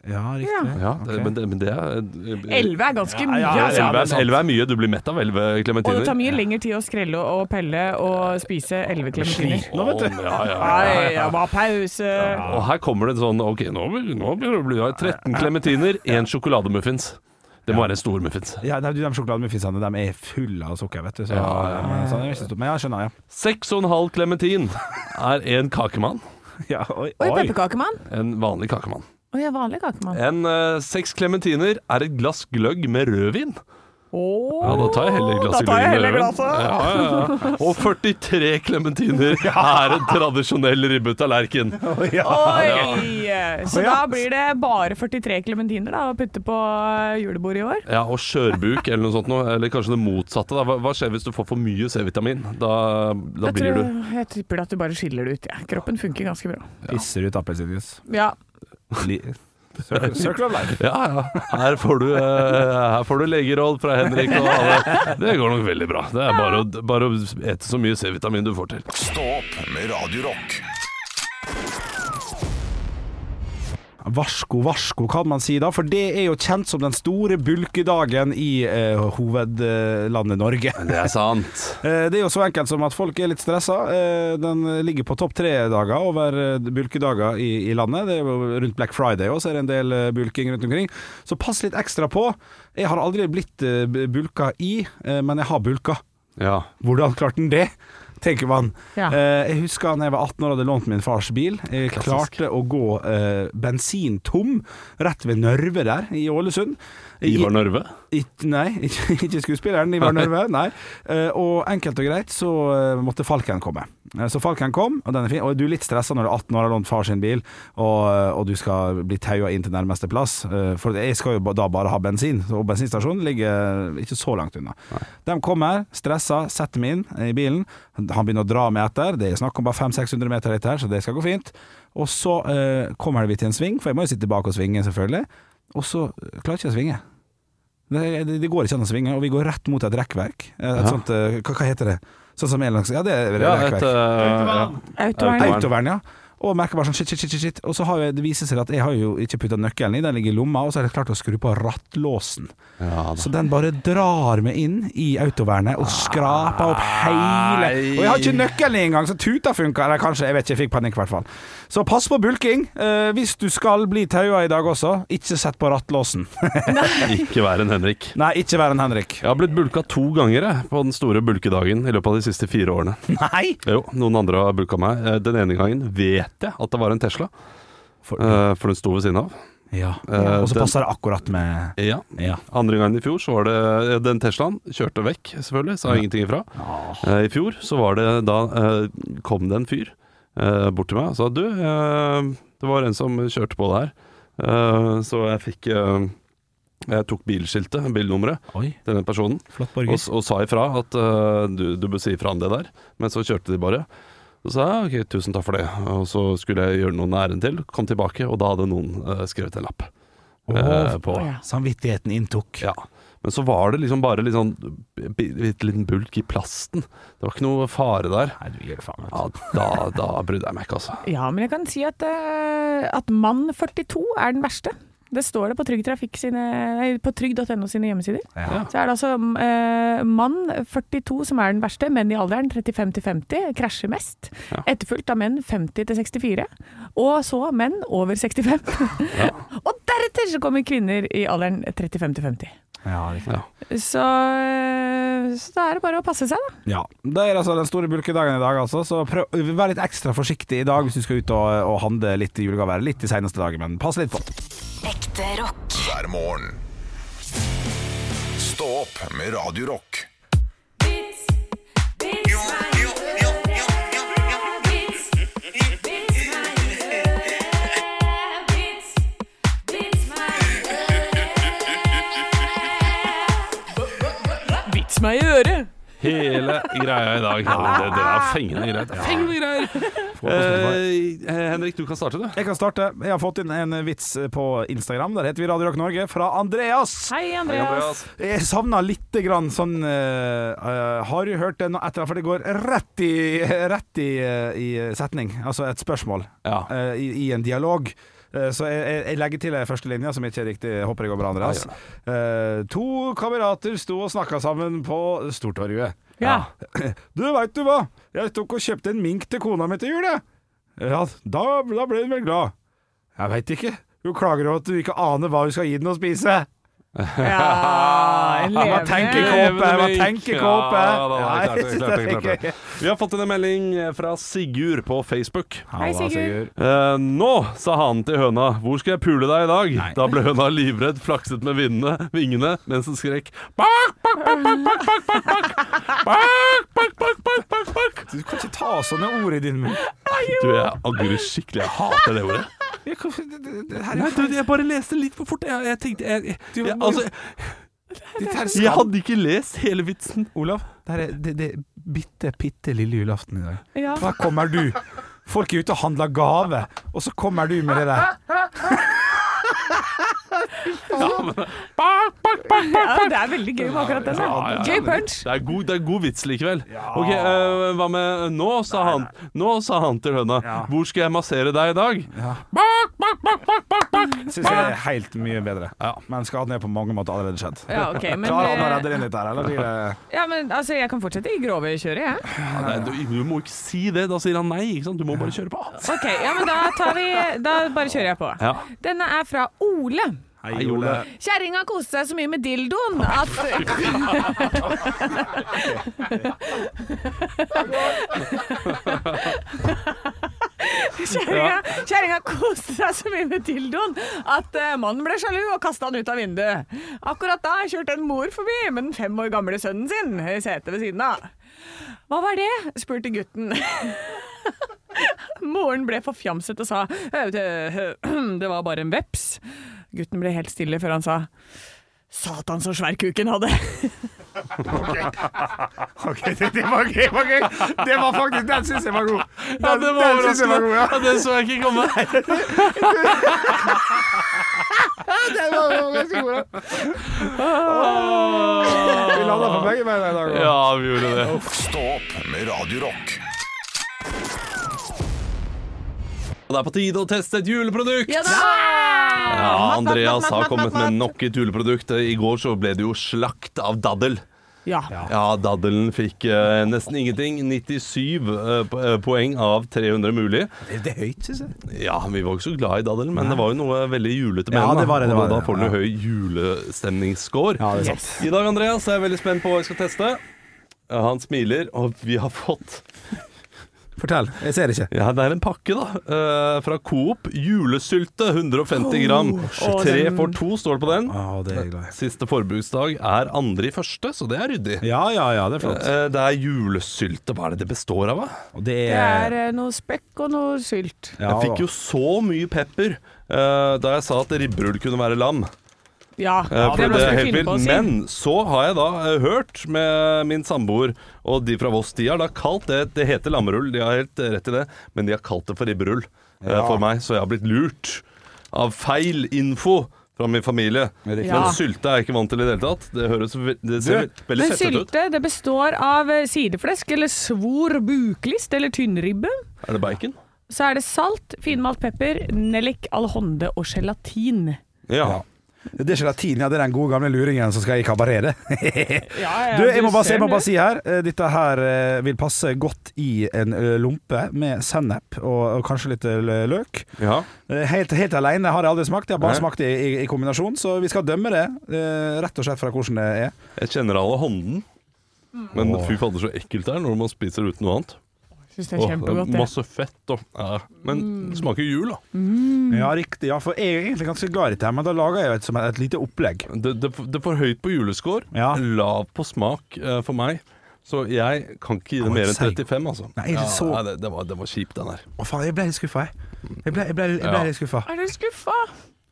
B: Ja, riktig.
D: Ja, det,
B: Ok.
D: men, det, men det er eh,
C: Elleve er ganske mye.
B: ja, ja,
C: altså.
B: ja.
D: Elleve
B: det er
D: er,
B: sant.
D: elleve er mye. Du blir mett av elleve
C: Og det
D: klementiner.
C: tar mye lengre tid å skrelle og pelle og spise elleve klementiner.
B: Nå, vet du.
D: Ja, ja, ja.
C: Nei, det var pause.
D: Og her kommer det en sånn Ok, nå, nå begynner det å bli ja, 13 klementiner, én sjokolademuffins. Det må være en stor muffins.
B: Ja, de, de sjokolademuffinsene de er fulle av sukker, vet du. Så, Men, så, det er ikke så stort. men jeg skjønner, ja.
D: Seks og en halv klementin er en kakemann.
B: ja oi,
C: Oi,
B: oi.
C: pepperkakemann.
D: En vanlig kakemann.
C: Oi, jeg er vanlig kakemann.
D: En eh, seks klementiner er et glass gløgg med rødvin.
C: Åh,
D: Ja, da tar jeg heller glasset
C: tar jeg
D: gløgg med
C: heller
D: rødvin.
C: glasset.
D: Ja, ja, ja. Og 43 klementiner er en tradisjonell ribbetallerken.
C: Oi! Så da
B: Å, ja.
C: blir det bare 43 klementiner da, å putte på julebordet i år.
D: Ja, og skjørbuk eller noe sånt noe. Eller kanskje det motsatte. Da. Hva, hva skjer hvis du får for mye C-vitamin? Da, da
C: Jeg,
D: blir
C: tror,
D: du
C: jeg tipper at du bare skiller det ut. Ja. Kroppen funker ganske bra.
B: Pisser ut appelsinjuice.
C: Ja.
B: Li- Circle circle of life.
D: Ja, ja. Her får du, eh, her får du legeråd fra Henrik og alle. Det går nok veldig bra. Det er bare å, bare å ete så mye C-vitamin du får til.
A: Stå opp med Radio Rock.
B: Varsko, varsko, kan man si da, for det er jo kjent som den store bulkedagen i eh, hovedlandet Norge.
D: Det er sant.
B: Eh, Det er jo så enkelt som at folk er litt stressa. Eh, Den ligger på topp tre dager over eh, bulkedager i, i landet. Det er jo rundt Black Friday òg, så er det en del eh, bulking rundt omkring. Så pass litt ekstra på. Jeg har aldri blitt eh, b- bulka i, eh, men jeg har bulka.
D: Ja.
B: Hvordan klarte han det? Tenker man.
C: Ja.
B: Eh, jeg husker da jeg var 18 år og hadde lånt min fars bil. Jeg klarte å gå eh, bensintom rett ved Nørve der, i Ålesund.
D: Ivar Nørve.
B: Ikke- nei, ikke, ikke skuespilleren Ivar Nørve, nei. Eh, og enkelt og greit så eh, måtte Falken komme. Eh, så Falken kom, og den er fin. Og du er litt stressa når du er 18 år og har lånt far sin bil, og, eh, og du skal bli taua inn til nærmeste plass. Eh, for jeg skal jo ba- da bare ha bensin, og bensinstasjonen ligger eh, ikke så langt unna. De kommer, stressa, setter meg inn eh, i bilen. Han begynner å dra meg etter. Det er snakk om bare 500-600 meter litt her, så det skal gå fint. Og så eh, kommer vi til en sving, for jeg må jo sitte bak og svinge, selvfølgelig. Og så eh, klarer jeg ikke å svinge. Det, det, det går ikke an å svinge, og vi går rett mot et rekkverk. Et sånt, eh, hva, hva heter det? Sånn som er langs Ja, det er
D: Ja, et,
B: rekkverk.
D: eh, ja.
C: Autovern.
D: Autovern.
B: Autovern, ja. Og merker bare sånn shit, shit, shit, shit, shit. Og så har jeg, det viser seg at jeg har jo ikke putta nøkkelen i, den ligger i lomma, og så har jeg klart å skru på rattlåsen.
D: Ja,
B: så den bare drar meg inn i autovernet og skraper opp hele Og jeg har ikke nøkkelen i engang, så tuta funka. Eller kanskje, jeg vet ikke, jeg fikk panikk i hvert fall. Så pass på bulking. Eh, hvis du skal bli taua i dag også, ikke sett på rattlåsen.
D: eh, Ikke vær en Henrik.
B: Nei, ikke vær en Henrik.
D: Jeg har blitt bulka to ganger jeg, på den store bulkedagen i løpet av de siste fire årene.
B: Nei!
D: Jo, noen andre har bulka meg. Eh, Den ene gangen vet jeg at det var en Tesla,
B: For-
D: eh, for den sto ved siden av.
B: Ja,
D: Eh,
B: og så
D: den-
B: passer det akkurat med
D: Ja.
B: Ja.
D: Andre gangen i fjor så var det eh, Den Teslaen kjørte vekk, selvfølgelig, sa ingenting ifra. Eh, I fjor så var det da eh, kom det en fyr eh, bort til meg og sa du, eh, det var en som kjørte på det her. Eh, Så jeg fikk eh, Jeg tok bilskiltet, bilnummeret,
B: Oi,
D: til den personen.
B: flott
D: og, s- og sa ifra at eh, du, du bør si ifra om det der. Men så kjørte de bare. Så sa jeg ok, tusen takk for det. Og så skulle jeg gjøre noen ærend til. Kom tilbake, og da hadde noen eh, skrevet en lapp. eh, på.
B: Samvittigheten inntok.
D: Ja. Men så var det liksom bare litt sånn bi- bitte liten bulk i plasten. Det var ikke noe fare der.
B: Nei, du gir det faen.
D: Ja, da, da brydde jeg meg ikke, altså.
C: Ja, men jeg kan si at, eh, at mann 42 er den verste. Det står det på Trygg Trafikk sine, nei, på trygg.no sine hjemmesider.
B: Ja.
C: Så er det altså eh, mann 42 som er den verste, menn i alderen 35 til 50 krasjer mest. Etterfulgt av menn 50 til 64, og så menn over 65. og deretter så kommer kvinner i alderen 35 til 50.
B: Ja, riktig.
C: Så, eh, så da er det bare å passe seg, da.
B: ja. Det er altså den store bulkedagen i dag, altså. Så prøv, vær litt ekstra forsiktig i dag hvis du skal ut og, og handle litt i julegaver. Litt i seneste dagen, men pass litt på.
E: Ekte rock.
A: hver morgen. Stå opp med Radio Rock.
C: Vits meg i øret!
D: Hele greia i dag. Ja, det, det er fengende greit. Fengende greier! Eh, Henrik, du kan starte, du.
B: Jeg kan starte. Jeg har fått inn en vits på Instagram. Der heter vi Radio Rock Norge, fra Andreas.
C: Hei, Andreas.
B: Jeg savna lite grann sånn eh, eh, Har du hørt det nå etter? For det går rett i, rett i, eh, i setning. Altså et spørsmål
D: Ja.
B: eh, i, i en dialog. Eh, Så jeg, jeg- jeg legger til den første linja, som ikke er riktig. Jeg Håper det går bra, Andreas. Eh, to kamerater sto og snakka sammen på Stortorget.
C: Ja.
B: Du, veit du hva? Jeg tok og kjøpte en mink til kona mi til jul, jeg. Ja, da, da ble hun vel glad. Jeg veit ikke. Hun klager over at du ikke aner hva hun skal gi den å spise.
C: Ja, en
B: Han
C: levende.
B: var tenkekåpe, han var tenkekåpe.
D: Ja, da, da,
B: Nei,
D: klart det, klart det, klart det.
B: det er ikke-
D: Vi har fått en melding fra Sigurd på Facebook.
C: Hei, Sigurd.
D: Eh, nå, sa hanen til høna, hvor skal jeg pule deg i dag? Da ble høna livredd, flakset med vindene, vingene, mens den skrek bak, bak, bak, bak, bak, bak, bak, bak, bak, bak, bak, bak, bak, bak.
B: Du kan ikke ta sånne ord i din munn.
D: Du, jeg angrer skikkelig, jeg hater det ordet.
B: Jeg kan- det- det- det her er
D: Nei,
B: jo-
D: du, jeg bare leste litt for fort, jeg, jeg tenkte, jeg, jeg, jeg, altså,
B: Ditt her
D: jeg
B: skam.
D: hadde ikke lest hele vitsen.
B: Olav, det her er det, det er bitte, bitte lille julaften i dag.
C: Ja.
B: Her kommer du. Folk er ute og handler gave, og så kommer du med det der.
C: Ja, det er veldig gøy med akkurat den.
D: Ja, ja,
C: da.
D: ja.
C: Gøy punch.
D: Det er god, det er god vits likevel. Ok, eh, Hva med Nå sa han Nå sa han til høna. Hvor skal jeg massere deg i dag?
B: Syns jeg er helt mye bedre. Men skal ned på mange måter allerede skjedd.
C: Ja, ok, men,
B: Klarer han å
C: eh,
B: redde det inn litt her, eller blir det
C: ja, men altså, jeg kan fortsette i grove kjøret, jeg.
D: Ja, nei, du, du må ikke si det. Da sier han nei. Ikke sant? Du må bare kjøre på.
C: Ok, ja, men da tar vi Da bare kjører jeg på.
D: Ja.
C: Denne er fra Ole.
D: Hei, Ole.
C: Kjerringa koste seg så mye med dildoen at Kjerringa kjerringa koste seg så mye med dildoen at eh, mannen ble sjalu og kasta han ut av vinduet. Akkurat da kjørte en mor forbi med den fem år gamle sønnen sin i setet ved siden av. Hva var det? spurte gutten. Moren ble forfjamset og sa «Øh, det, øh, det var bare en veps. Gutten ble helt stille før han sa Satan så svær kuken hadde.
G: Ok, det, det var gøy, var gøy. Det var faktisk, den syns jeg var god. Den,
D: Ja, det var
G: den synes jeg var god,
D: overraskende.
G: ja.
D: Ja, det så jeg ikke komme.
G: Den var overraskende god, ja. Vi landa på begge beina i dag. da.
D: Ja, vi gjorde det.
A: Stå opp med Radio Rock.
D: Og det er på tide å teste et juleprodukt.
C: Ja da!
D: Ja, Andreas har kommet med nok et juleprodukt. I går så ble det jo slakt av daddel.
C: Ja.
D: Ja, daddelen fikk eh, nesten ingenting. 97 eh, po- eh, poeng av 300 mulig.
B: Det, er høyt, syns jeg.
D: Ja, vi var ikke så glad i daddelen, men det var jo noe veldig julete med
B: Ja,
D: den, da.
B: det var det, det
D: Og
B: var
D: da
B: det,
D: får den jo
B: ja.
D: høy julestemningsscore.
B: Ja, det er sant.
C: Yes.
D: I dag, Andreas, er jeg veldig spent på hva jeg skal teste. Ja, Han smiler, og vi har fått
B: Fortell. Jeg ser ikke.
D: Ja, det er en pakke, da. eh, fra Coop. Julesylte, 150 gram.
B: Oh,
C: Å,
D: Tre
C: den-
D: for to står det på den.
B: Å, det er jeg glad i.
D: Siste forbruksdag er andre i første, så det er ryddig.
B: Ja, ja, ja, det er flott.
D: Eh, Det er julesylte. Hva er det det består av, da?
B: Og det
C: Det er eh, noe spekk og noe sylt.
B: ja,
D: Jeg fikk jo så mye pepper eh, da jeg sa at ribberull kunne være lam.
C: Ja,
D: Eh,
C: det
D: for det
C: må
D: er
C: vi
D: helt
C: finne på å
D: vilt.
C: si.
D: Men så har jeg da eh, hørt med min samboer og de fra Voss, de har da kalt det Det heter lammerull, de har helt rett i det, men de har kalt det for ribberull eh, for meg, så jeg har blitt lurt av feil info. Fra min familie.
B: Riktig.
C: Ja.
D: Men sylte er jeg ikke vant til i det hele tatt. Det, høres, ve- det ser
B: Du,
D: veldig
C: Men
D: fettete ut.
C: sylte det består av eh, sideflesk eller svor buklist eller tynnribbe.
D: Er det bacon?
C: Så er det salt, finmalt pepper, nellik, alhonde og gelatin.
D: Ja.
B: Det er gelatin, ja. Det er den gode gamle luringen som skal i kabaret. det.
C: Ja, ja,
B: Du, jeg må, bare,
C: ser
B: jeg må
C: den, du.
B: bare si her eh, Dette her eh, vil passe godt i en eh, lompe med sennep og, og kanskje litt eh, løk.
D: ja.
B: Eh, Helt, helt alene har jeg aldri smakt. Jeg har bare
D: Nei.
B: smakt det i, i kombinasjon, så vi skal dømme det eh, rett og slett fra hvordan det er.
D: Jeg kjenner alle hånden. Men fy fader, så ekkelt det er når man spiser uten noe annet.
C: Synes det er
D: Åh,
C: kjempegodt, Mm.
D: det er
C: det.
D: masse fett og ja. Men det smaker jul, da.
C: Mm.
B: Ja, riktig. Ja, for jeg er egentlig ganske glad i dette, her, men da lager jeg jo et, som et lite opplegg.
C: Mm.
D: Det, det, det er for høyt på juleskår,
B: Ja.
D: lav på smak eh, for meg. Så jeg kan ikke gi det
B: Å,
D: mer enn
B: seig.
D: 35, altså.
B: Nei, det er så-
D: nei, det, det, var, det var kjipt, den her.
B: Å faen, jeg ble litt skuffa, jeg. Jeg ble, jeg ble, jeg ble
D: Ja.
B: litt skuffa.
C: Er du skuffa?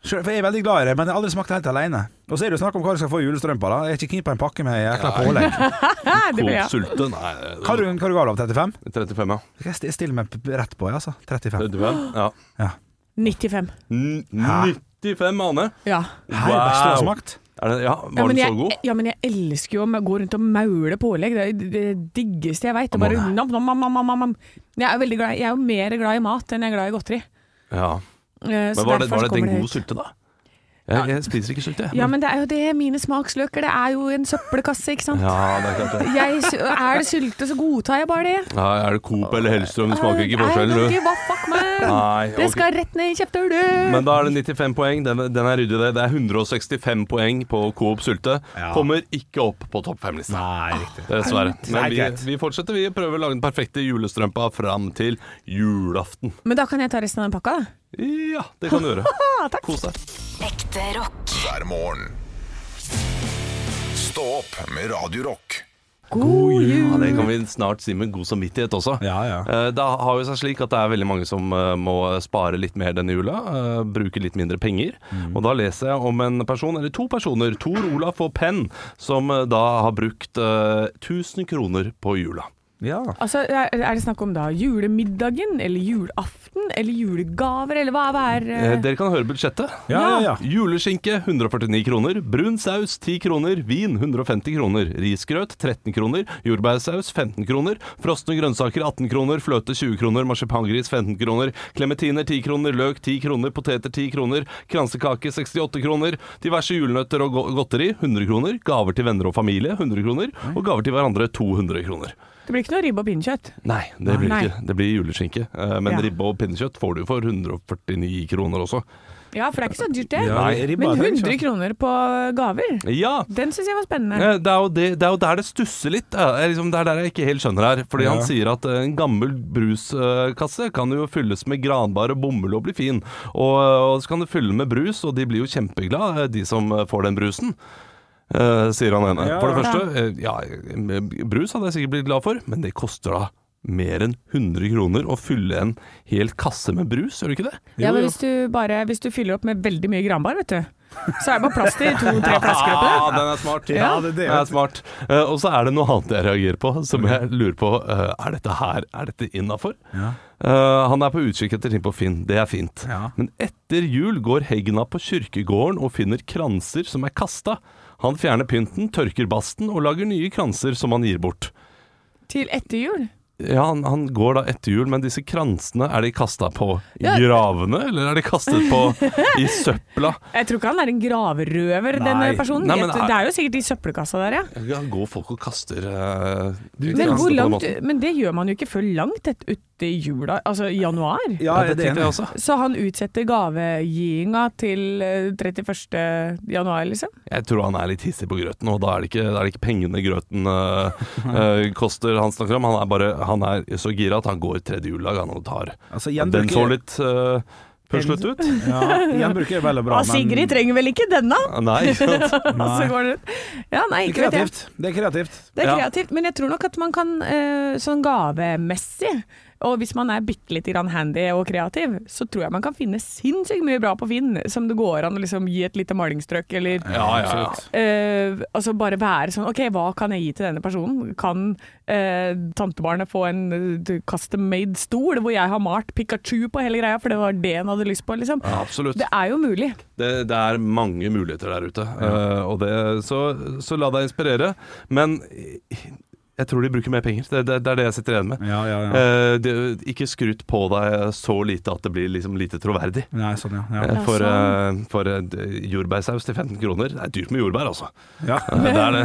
B: Selv- For jeg er veldig glad i det, men jeg har aldri smakt det helt alene. Og så er det jo snakk om hva du skal få i julestrømpa. da. Jeg er ikke keen på en pakke med jækla pålegg.
C: Hæ, det blir
D: Coop
C: jeg.
D: sulte, nei.
B: Hva er du, hva er du gal av? 35?
D: 35, ja.
B: Skal jeg sti- stille meg p- rett på, jeg, altså. 35.
D: 35, ja.
C: 95.
D: N-
B: Hæ?
D: 95, Ane.
C: Ja.
B: Her er det beste jeg har smakt.
D: Er det, ja,
C: Ja,
D: var
C: men
D: den
C: jeg,
D: så god?
C: ja, men jeg elsker jo å gå rundt og maule pålegg. Det er jo det diggeste jeg veit. Bare nam, nam, nam, nam, nam, nam. Jeg er veldig glad Jeg er jo mer glad i mat enn jeg er glad i godteri. Eh,
D: Ja. Men var det, var det den gode sylte, da? Jeg, jeg spiser ikke sylte, jeg.
C: Ja, men det er jo det. Mine smaksløker. Det er jo en søppelkasse, ikke sant.
D: ja, det er klart det.
C: Jeg, sy- er det sylte, så godtar jeg bare det.
D: Ja, er det Coop eller Hellstrøm? Det smaker ikke
C: Nei,
D: forskjell,
C: det er
D: du.
C: ikke- Hva fuck meg?
D: Nei,
C: Det
D: ok.
C: skal rett ned i kjefthullet.
D: Men da er det 95 poeng. Den, den er ryddig, det. Det er 165 poeng på Coop Sulte.
B: Ja.
D: Kommer ikke opp på topp fem-lista.
B: Nei, riktig.
D: Dessverre. Men
B: Nei,
D: vi,
B: greit.
D: vi fortsetter. Vi prøver å lage den perfekte julestrømpa fram til julaften.
C: Men da kan jeg ta resten av den pakka, da.
D: Ja, det kan du gjøre.
C: Ah, takk.
D: Kos deg.
E: Ekte rock.
A: hver morgen. Stå opp med Radio Rock.
C: God jul.
D: Ja, det kan vi snart si med god samvittighet også.
B: Ja, ja.
D: Eh, Det har jo seg slik at det er veldig mange som eh, må spare litt mer denne jula, eh, bruke litt mindre penger. Og da leser jeg om en person, eller to personer, Tor Olaf og Penn, som eh, da har brukt eh, 1000 kroner på jula.
B: Ja.
C: Altså, er er det snakk om da julemiddagen, eller julaften, eller julegaver, eller hva hva er
D: Eh,
C: eh,
D: Dere kan høre budsjettet.
B: Ja, ja, ja.
D: Juleskinke 149 kroner, brun saus 10 kroner, vin 150 kroner, risgrøt 13 kroner, jordbærsaus 15 kroner, frosne grønnsaker 18 kroner, fløte 20 kroner, marsipangris 15 kroner, klementiner 10 kroner, løk 10 kroner, poteter 10 kroner, kransekake 68 kroner, diverse julenøtter og go- godteri 100 kroner, gaver til venner og familie 100 kroner, og gaver til hverandre 200 kroner.
C: eh, Det blir ikke noe ribbe og pinnekjøtt.
D: Nei, det blir
C: Nei.
D: ikke. Det blir juleskinke. Eh, Men
C: Ja.
D: ribbe og pinnekjøtt får du for 149 kroner også.
C: Ja, for det er ikke så dyrt, det.
B: Ja,
D: Nei.
C: Men
B: ribba er høy, så.
C: 100 kroner på gaver,
D: Ja!
C: den syns jeg var spennende.
D: Eh, Det er, jo det, det er jo der det stusser litt. da. Det er, liksom, det er der jeg ikke helt skjønner her. Fordi
B: Ja.
D: han sier at eh, en gammel bruskasse kan jo fylles med granbar og bomull og bli fin. Og, eh, og så kan du fylle med brus, og de blir jo kjempeglade, eh, de som eh, får den brusen. eh, sier han ene.
B: Ja.
D: For det første, eh, ja, eh, brus hadde jeg sikkert blitt glad for, men det koster da mer enn 100 kroner å fylle en hel kasse med brus, gjør det ikke det?
C: Ja, men hvis du, bare, hvis du fyller opp med veldig mye granbar, vet du, så er det bare plass til to-tre flasker oppi der.
D: Ah, den er smart.
B: Ja, det er det.
D: Den er smart. Eh, og så er det noe annet jeg reagerer på, som jeg lurer på eh, Er dette her Er dette innafor? Eh,
B: Ja.
D: han er på utkikk etter ting på Finn, det er fint.
B: Ja.
D: Men etter jul går Hegna på kirkegården og finner kranser som er kasta. Han fjerner pynten, tørker basten og lager nye kranser som han gir bort.
C: Til etter jul.
D: Ja, han, han går da etter jul, men disse kransene, er de kasta på
C: Ja.
D: gravene, eller er de kastet på i søpla?
C: Jeg tror ikke han er en gravrøver,
B: Nei.
C: denne personen.
D: Nei, men
C: Jeg- det er jo sikkert i søppelkassa der, ja.
D: Ja, går folk og kaster eh,
C: Men,
D: kaster på
C: hvor
D: den
C: langt,
D: måten?
C: men det gjør man jo ikke før langt et- uti jula, altså i januar.
B: Ja,
D: Ja,
B: er
D: det
B: det
D: tenkte jeg
B: enig?
D: også.
C: Så han utsetter gavegiinga til eh, 31. januar, liksom?
D: Jeg tror han er litt hissig på grøten, og da er det ikke, da er det ikke pengene grøten øh, øh, koster han snakker om. Han er, bare, han er så gira at han går tredje juledag han og tar.
B: Altså,
D: Den
B: gjenbruk
D: så
B: er-
D: litt øh, puslet ut.
B: Ja, gjenbruk er vel og bra,
C: Ah, Sigrid trenger vel ikke denne?
D: Nei, ikke sant?
C: Og så går det Ja, nei,
B: Det er
C: ikke vet jeg.
B: kreativt. Det er kreativt.
C: Det er
D: Ja.
C: kreativt, men jeg tror nok at man kan eh, sånn gavemessig, og hvis man er bitte lite grann handy og kreativ, så tror jeg man kan finne sinnssykt mye bra på Finn som det går an å liksom gi et lite malingsstrøk, eller
D: Ja, ja, ja.
C: eh, altså bare være sånn OK, hva kan jeg gi til denne personen? Kan eh, tantebarnet få en eh, custom made stol hvor jeg har malt Pikachu på hele greia, for det var det hun hadde lyst på, liksom?
D: Ja, Absolutt.
C: Det er jo mulig.
D: Det, det er mange muligheter der ute, øh, og det, så, så la deg inspirere. Men jeg tror de bruker mer penger. Det, det, det er det jeg sitter igjen med.
B: Ja, ja, ja.
D: Eh, det, ikke skryt på deg så lite at det blir liksom lite troverdig.
B: Nei, sånn, ja. ja.
D: Eh, For,
C: sånn.
D: eh, for eh, d- jordbærsaus til 15 kroner Det er dyrt med jordbær, altså.
B: Ja,
D: Eh, Det er, det.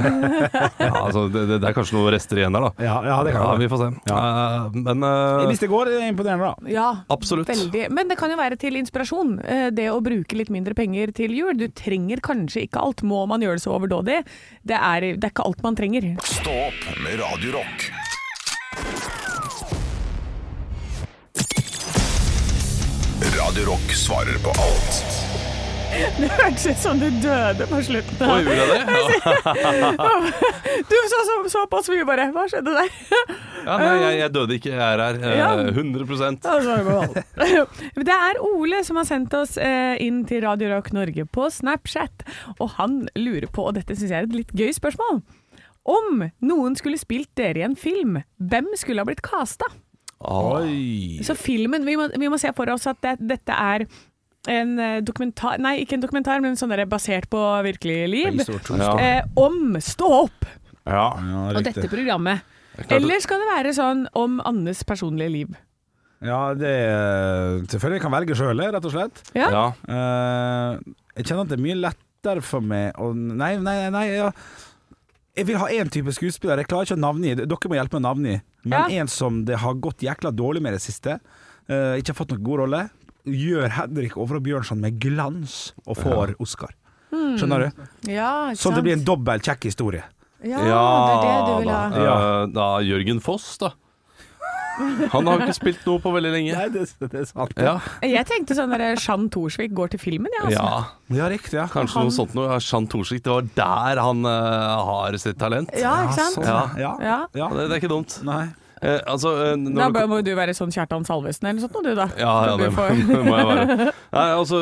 D: Ja, altså det, det, det er kanskje noen rester igjen der, da.
B: ja, ja det
D: Ja,
B: kan
D: vi
B: jeg.
D: får se. Eh, men eh,
B: Hvis det går, det er imponerende, da.
C: Ja,
D: Absolutt.
C: Veldig. Men det kan jo være til inspirasjon, eh, det å bruke litt mindre penger til jul. Du trenger kanskje ikke alt, må man gjøre det så overdådig? Det er, det er ikke alt man trenger.
A: Stå opp med Radio Rock. Radio Rock svarer på alt
C: Det hørtes ut som du døde på slutten.
D: Oi, gjorde jeg det? Ja.
C: Du så, så, såpass mye, bare. Hva skjedde der?
D: Ja, nei, jeg, jeg døde ikke, jeg er her. eh,
C: Ja.
D: 100
C: Ja, så er det bra. Det er Ole som har sendt oss eh, inn til Radio Rock Norge på Snapchat, og han lurer på, og dette syns jeg er et litt gøy spørsmål, om noen skulle spilt dere i en film, hvem skulle ha blitt casta?
B: Oi.
C: Så filmen, vi må, vi må se for oss at det, dette er en eh, dokumentar, nei ikke en dokumentar, men sånn der basert på virkelig liv.
D: Ja.
C: Eh, om Stå opp
D: Ja.
B: Ja,
C: og dette
B: riktig.
C: programmet.
D: klart det-
C: Eller skal det være sånn om Annes personlige liv?
B: Ja, det er Selvfølgelig kan velge sjøl, rett og slett.
C: Ja,
D: Ja.
B: Eh, jeg kjenner at det er mye lettere for meg å Nei, nei, nei. nei ja. Jeg vil ha én type skuespiller. Jeg klarer ikke å navngi. Dere må hjelpe meg å navngi. Men
C: Ja.
B: en som det har gått jækla dårlig med i det siste, eh, ikke har fått noen god rolle, gjør Henrik Over og Bjørnson med glans og får Oscar. Skjønner du?
C: ja Hmm. ikke
B: Sånn at det blir en dobbel kjekk historie.
C: Ja, det er det du vil
D: da.
C: ha.
D: Eh, da Jørgen Foss, da. Han har jo ikke spilt noe på veldig lenge.
B: det, er sant. Ja,
D: Ja,
C: Jeg tenkte sånn der Jeanne Thorsvik går til filmen, jeg,
D: ja.
C: altså.
B: ja riktig. Ja.
D: kanskje noe sånt noe. Jean Thorsvik, det var der han eh, har sitt talent.
C: Ja, ikke sant?
D: Ja.
B: Ja.
C: Ja.
B: ja.
D: Det, det er ikke dumt.
B: Nei.
D: Eh, altså, eh, når
C: Da
D: det-
C: må du være sånn Kjartan Salvesen eller noe sånt, nå, du da.
D: Ja, ja
C: Så
D: det
C: du
D: må
C: får-
D: må jeg være. Nei, altså,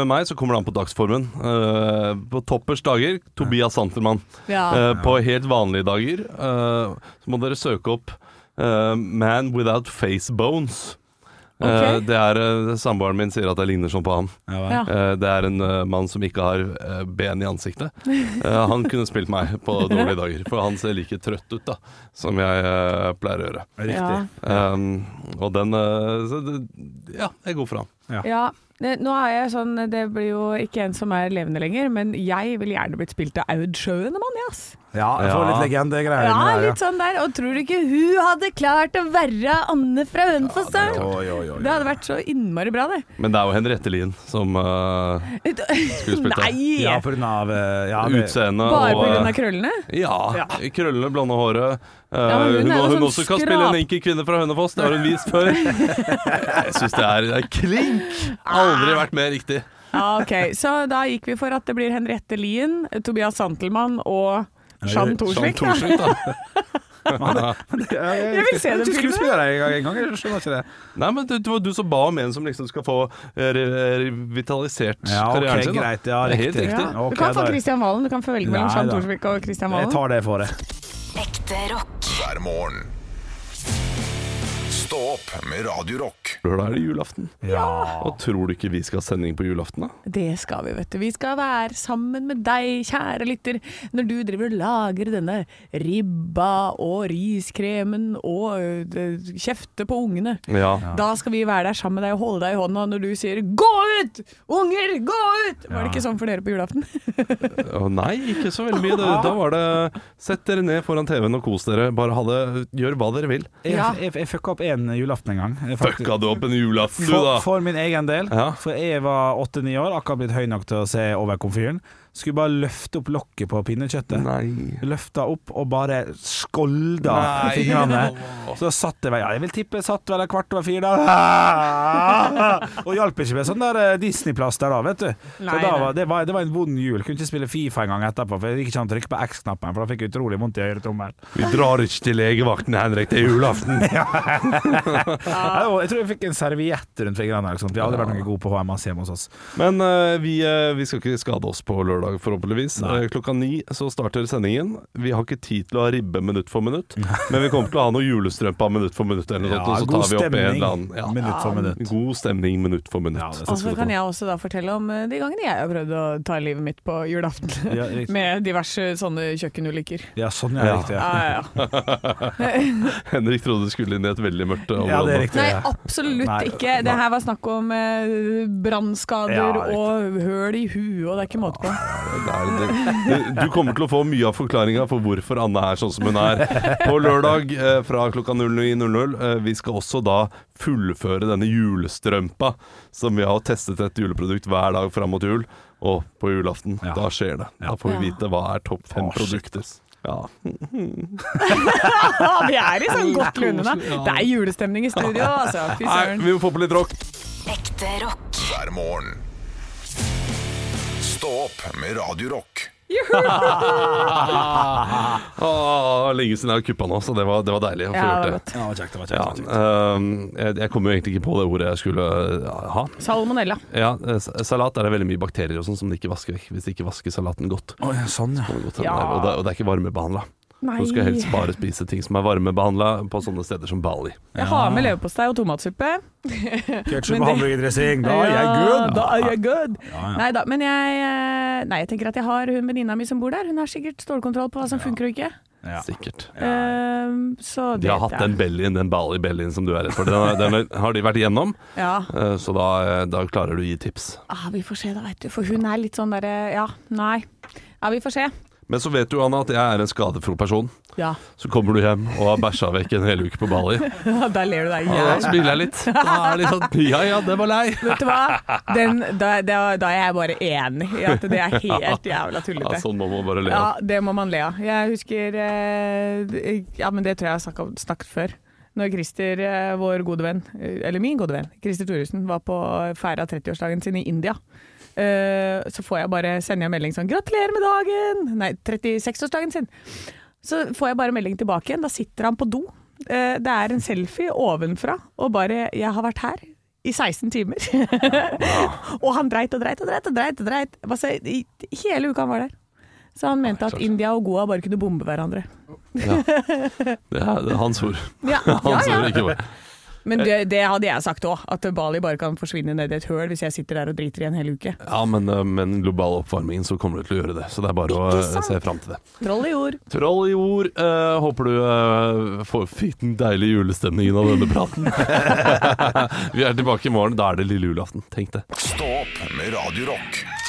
D: med meg så kommer det an på dagsformen. Eh, på toppers dager Tobias Santermann.
C: Ja.
D: Eh, på helt vanlige dager eh, så må dere søke opp eh, eh, Man Without Face Bones. Eh,
C: Ok.
D: det er eh, Samboeren min sier at jeg ligner sånn på ham.
B: Ja, vel.
C: Ja.
D: Eh, det er en eh, mann som ikke har eh, ben i ansiktet. Eh, han kunne spilt meg på dårlige dager, for han ser like trøtt ut da som jeg eh, pleier å gjøre.
C: Ja.
D: Um, og den eh, så det, Ja, jeg går for han.
C: Ja. Ne- Nå er jeg sånn, Det blir jo ikke en som er levende lenger, men jeg ville gjerne blitt spilt av Aud Schønemann. jeg, ass.
B: Ja, jeg får
D: Ja.
B: litt legendegreier
C: Ja,
B: inni der,
C: litt sånn der. Og tror du ikke hun hadde klart å være Anne fra Hønefoss? da?
B: Oi, oi, oi.
C: Det hadde vært så innmari bra, det.
D: Men det er jo Henriette Lien som uh, Skuespiller.
C: Nei!
B: Ja, på grunn av eh, ja, det-
D: utseende
C: Bare
D: og eh,
C: pga. krøllene?
D: Ja. Krøllene, blonde håret. Eh,
C: men hun
D: hun,
C: er jo
D: hun
C: sånn
D: også kan
C: skrap.
D: spille en enkel kvinne fra Hønefoss, det har hun vist før. Jeg syns det er, det er klink! Aldri vært mer riktig.
C: Ja, ok. Så da gikk vi for at det blir Henriette Lien, Tobias Santelmann og Jeanne
D: Jean
C: Thorsvik. da.
D: Thorsvik, da.
C: Jeg vil se den filmen.
B: Skuespiller jeg en gang, jeg skjønner ikke det.
D: Nei, men det, det var du som ba om en som liksom skal få eh, re revitalisert
B: Ja, ok,
D: karrieren sin. da.
B: greit, ja,
D: Det er Helt
B: riktig.
D: riktig.
C: Ja.
B: Ok,
C: Du kan få
B: da-
C: Christian Valen. Du kan få velge mellom
B: Nei
C: Jeanne
B: da.
C: Thorsvik og Christian
B: Jeg
C: Valen.
B: tar det for det.
E: Ekte rock.
A: hver morgen. Stå opp med Radio Rock.
D: Da er det julaften. Og tror du ikke vi skal ha sending på julaften, da?
C: Det skal vi, vet du. Vi skal være sammen med deg, kjære lytter, når du driver og lager denne ribba og riskremen og ø, d- kjefte på ungene.
D: Ja.
C: Da skal vi være der sammen med deg og holde deg i hånda når du sier 'gå ut, unger, gå ut'! Var det ikke sånn for dere på julaften?
D: Å, nei, ikke så veldig mye. Da, da var det Sett dere ned foran TV-en og kos dere. Bare ha det, gjør hva dere vil.
B: Jeg,
C: Ja.
B: jeg, jeg fucka opp en julaften en gang. Jeg faktisk-
D: Fucka du opp en julaften, du,
B: For,
D: da?
B: for min egen del.
D: Ja.
B: For jeg var åtte-ni år, akkurat blitt høy nok til å se over komfyren. Skulle bare løfte opp lokket på pinnekjøttet.
D: Nei.
B: Løfta opp og bare skolda i
D: Nei.
B: fingrene. Så satt jeg vel, ja, jeg vil tippe jeg satt vel en kvart over fire der. Og hjalp ikke med sånn der eh, Disney-plaster da, vet du.
C: Nei,
B: så da
C: nei.
B: var, det, var, det var en vond jul. Kunne ikke spille Fifa en gang etterpå, for jeg gikk ikke an å trykke på X-knappen, for da fikk jeg utrolig vondt i høyre tommel.
D: Vi drar ikke til legevakten, Henrik. Det er julaften.
B: Ja, og Jeg tror jeg fikk en serviett rundt fingrene. eller noe sånt. Vi har aldri vært noe gode på HMS hjemme hos oss.
D: Men eh, vi, eh, vi skal ikke skade oss på lørdag, forhåpentligvis.
B: Nei.
D: Eh, klokka ni så starter sendingen. Vi har ikke tid til å ha ribbe minutt for minutt, men vi kommer til å ha noe julestrømpe av minutt for minutt. Eller noe, sånt, og så tar vi opp en eller annen. Ja.
B: Minutt for minutt.
D: God stemning minutt for minutt.
B: Ja, det
C: Og
B: synes
C: så
B: jeg
C: kan
B: det
C: jeg også da fortelle om ø, de gangene jeg har prøvd å ta livet mitt på julaften.
B: Ja, riktig.
C: med diverse sånne kjøkkenulykker.
B: Ja, sånn er det
D: Ja.
B: riktig.
C: Ja,
B: Ja.
C: ja, ja.
D: Henrik trodde du skulle inn i et veldig mørkt eh, område.
B: Ja, det er riktig.
C: Nei,
B: ja.
C: absolutt
B: Nei.
C: ikke. Det her var snakk om eh, brannskader
B: Ja, riktig.
C: og høl i huet, og det er ikke måte på.
D: Det er litt- Du kommer til å få mye av forklaringa for hvorfor Anne er sånn som hun er på lørdag eh, fra klokka 09.00. Eh, Vi skal også da fullføre denne julestrømpa som vi har testet et juleprodukt hver dag fram mot jul. Og på julaften,
B: Ja.
D: da skjer det. Da får vi
C: Ja.
D: vite hva er topp fem
B: Å, shit,
D: produkter. Ja.
C: Ja, vi er liksom godt lune, da. Det er julestemning i studio, altså. Fy
D: Nei,
C: søren.
D: vi må få på litt rock.
E: Ekte rock.
A: hver morgen. Stå opp med Radio Rock.
D: Åh, Ah, lenge siden jeg har kuppa nå, så det var, det var deilig å få
C: Ja, det var
D: gjort det.
C: godt.
B: Ja, det var kjekt, det var
D: Ja,
B: kjekt, det var kjekt.
D: ehm, jeg, jeg kom jo egentlig ikke på det ordet jeg skulle eh, ha.
C: Salmonella.
D: Ja, eh, s- salat er det veldig mye bakterier og sånn som de ikke vasker vekk hvis de ikke vasker salaten godt.
B: Å, ja, sånn, ja.
D: Og, godt
C: Ja.
D: og, det, og det er ikke varmebehandla.
C: Nei.
D: Så du skal helst bare spise ting som er varmebehandla på sånne steder som Bali.
C: Jeg har med leverpostei og tomatsuppe.
B: Ketchup
C: Men
B: og
C: det-
B: hamburgerdressing, da er jeg good!
C: Da er jeg good.
B: Ja, ja.
C: Nei da, men jeg eh, Nei, jeg tenker at jeg har hun venninna mi som bor der. Hun har sikkert stålkontroll på hva som funker og ikke.
B: Ja.
D: Sikkert.
C: Ehm, så det
D: De har
C: vet
D: hatt
C: jeg.
D: den bellyen, den Bali-bellyen som du er redd for. Den, har- den har- har de vært igjennom,
C: Ja.
D: eh, så da, eh, da klarer du å gi tips.
C: Ah, vi får se da, veit du. For hun er litt sånn derre Ja, nei. Ja, vi får se.
D: Men så vet du, Anna, at jeg er en skadefro person.
C: Ja.
D: Så kommer du hjem og har bæsja vekk en hel uke på Bali.
C: Der ler du deg i
D: Og da
C: hjel.
D: smiler jeg litt. Da er det litt sånn Ja ja, det var lei.
C: Vet du hva? Den, da, da, da er jeg bare enig i at det er helt jævla
D: Ja,
C: tullete.
D: sånn må man bare le
C: Ja,
D: av.
C: det må man le av. Jeg husker eh, Ja, men det tror jeg har snakket, om- snakket før. Når Christer, eh, vår gode venn, eh, eller min gode venn, Christer Thoresen, var på feira 30-årsdagen sin i India. eh, så får jeg bare sende en melding sånn 'Gratulerer med dagen!' Nei, 36-årsdagen sin. Så får jeg bare melding tilbake igjen. Da sitter han på do. Eh, det er en selfie ovenfra og bare 'Jeg har vært her'. I 16 timer. og han dreit og dreit og dreit og dreit. og dreit. Altså, i- Hele uka han var der. Så han mente at India og Goa bare kunne bombe hverandre.
D: Det er, det er hans ord.
C: Ja, ja,
D: Hans
C: ja.
D: ord, ikke vår.
C: Men det, det hadde jeg sagt òg, at Bali bare kan forsvinne ned i et høl hvis jeg sitter der og driter i en hel uke.
D: Ja, men, eh, men global oppvarmingen, så kommer det til å gjøre det. Så det er bare å
C: Ikke
D: eh,
C: sant?
D: se fram til det.
C: Troll i jord.
D: Troll i ord. eh, håper du eh, får fikk den deilige julestemningen av denne praten. Vi er tilbake i morgen. Da er det lille julaften. Tenk det.
A: Stå opp med Radio Rock.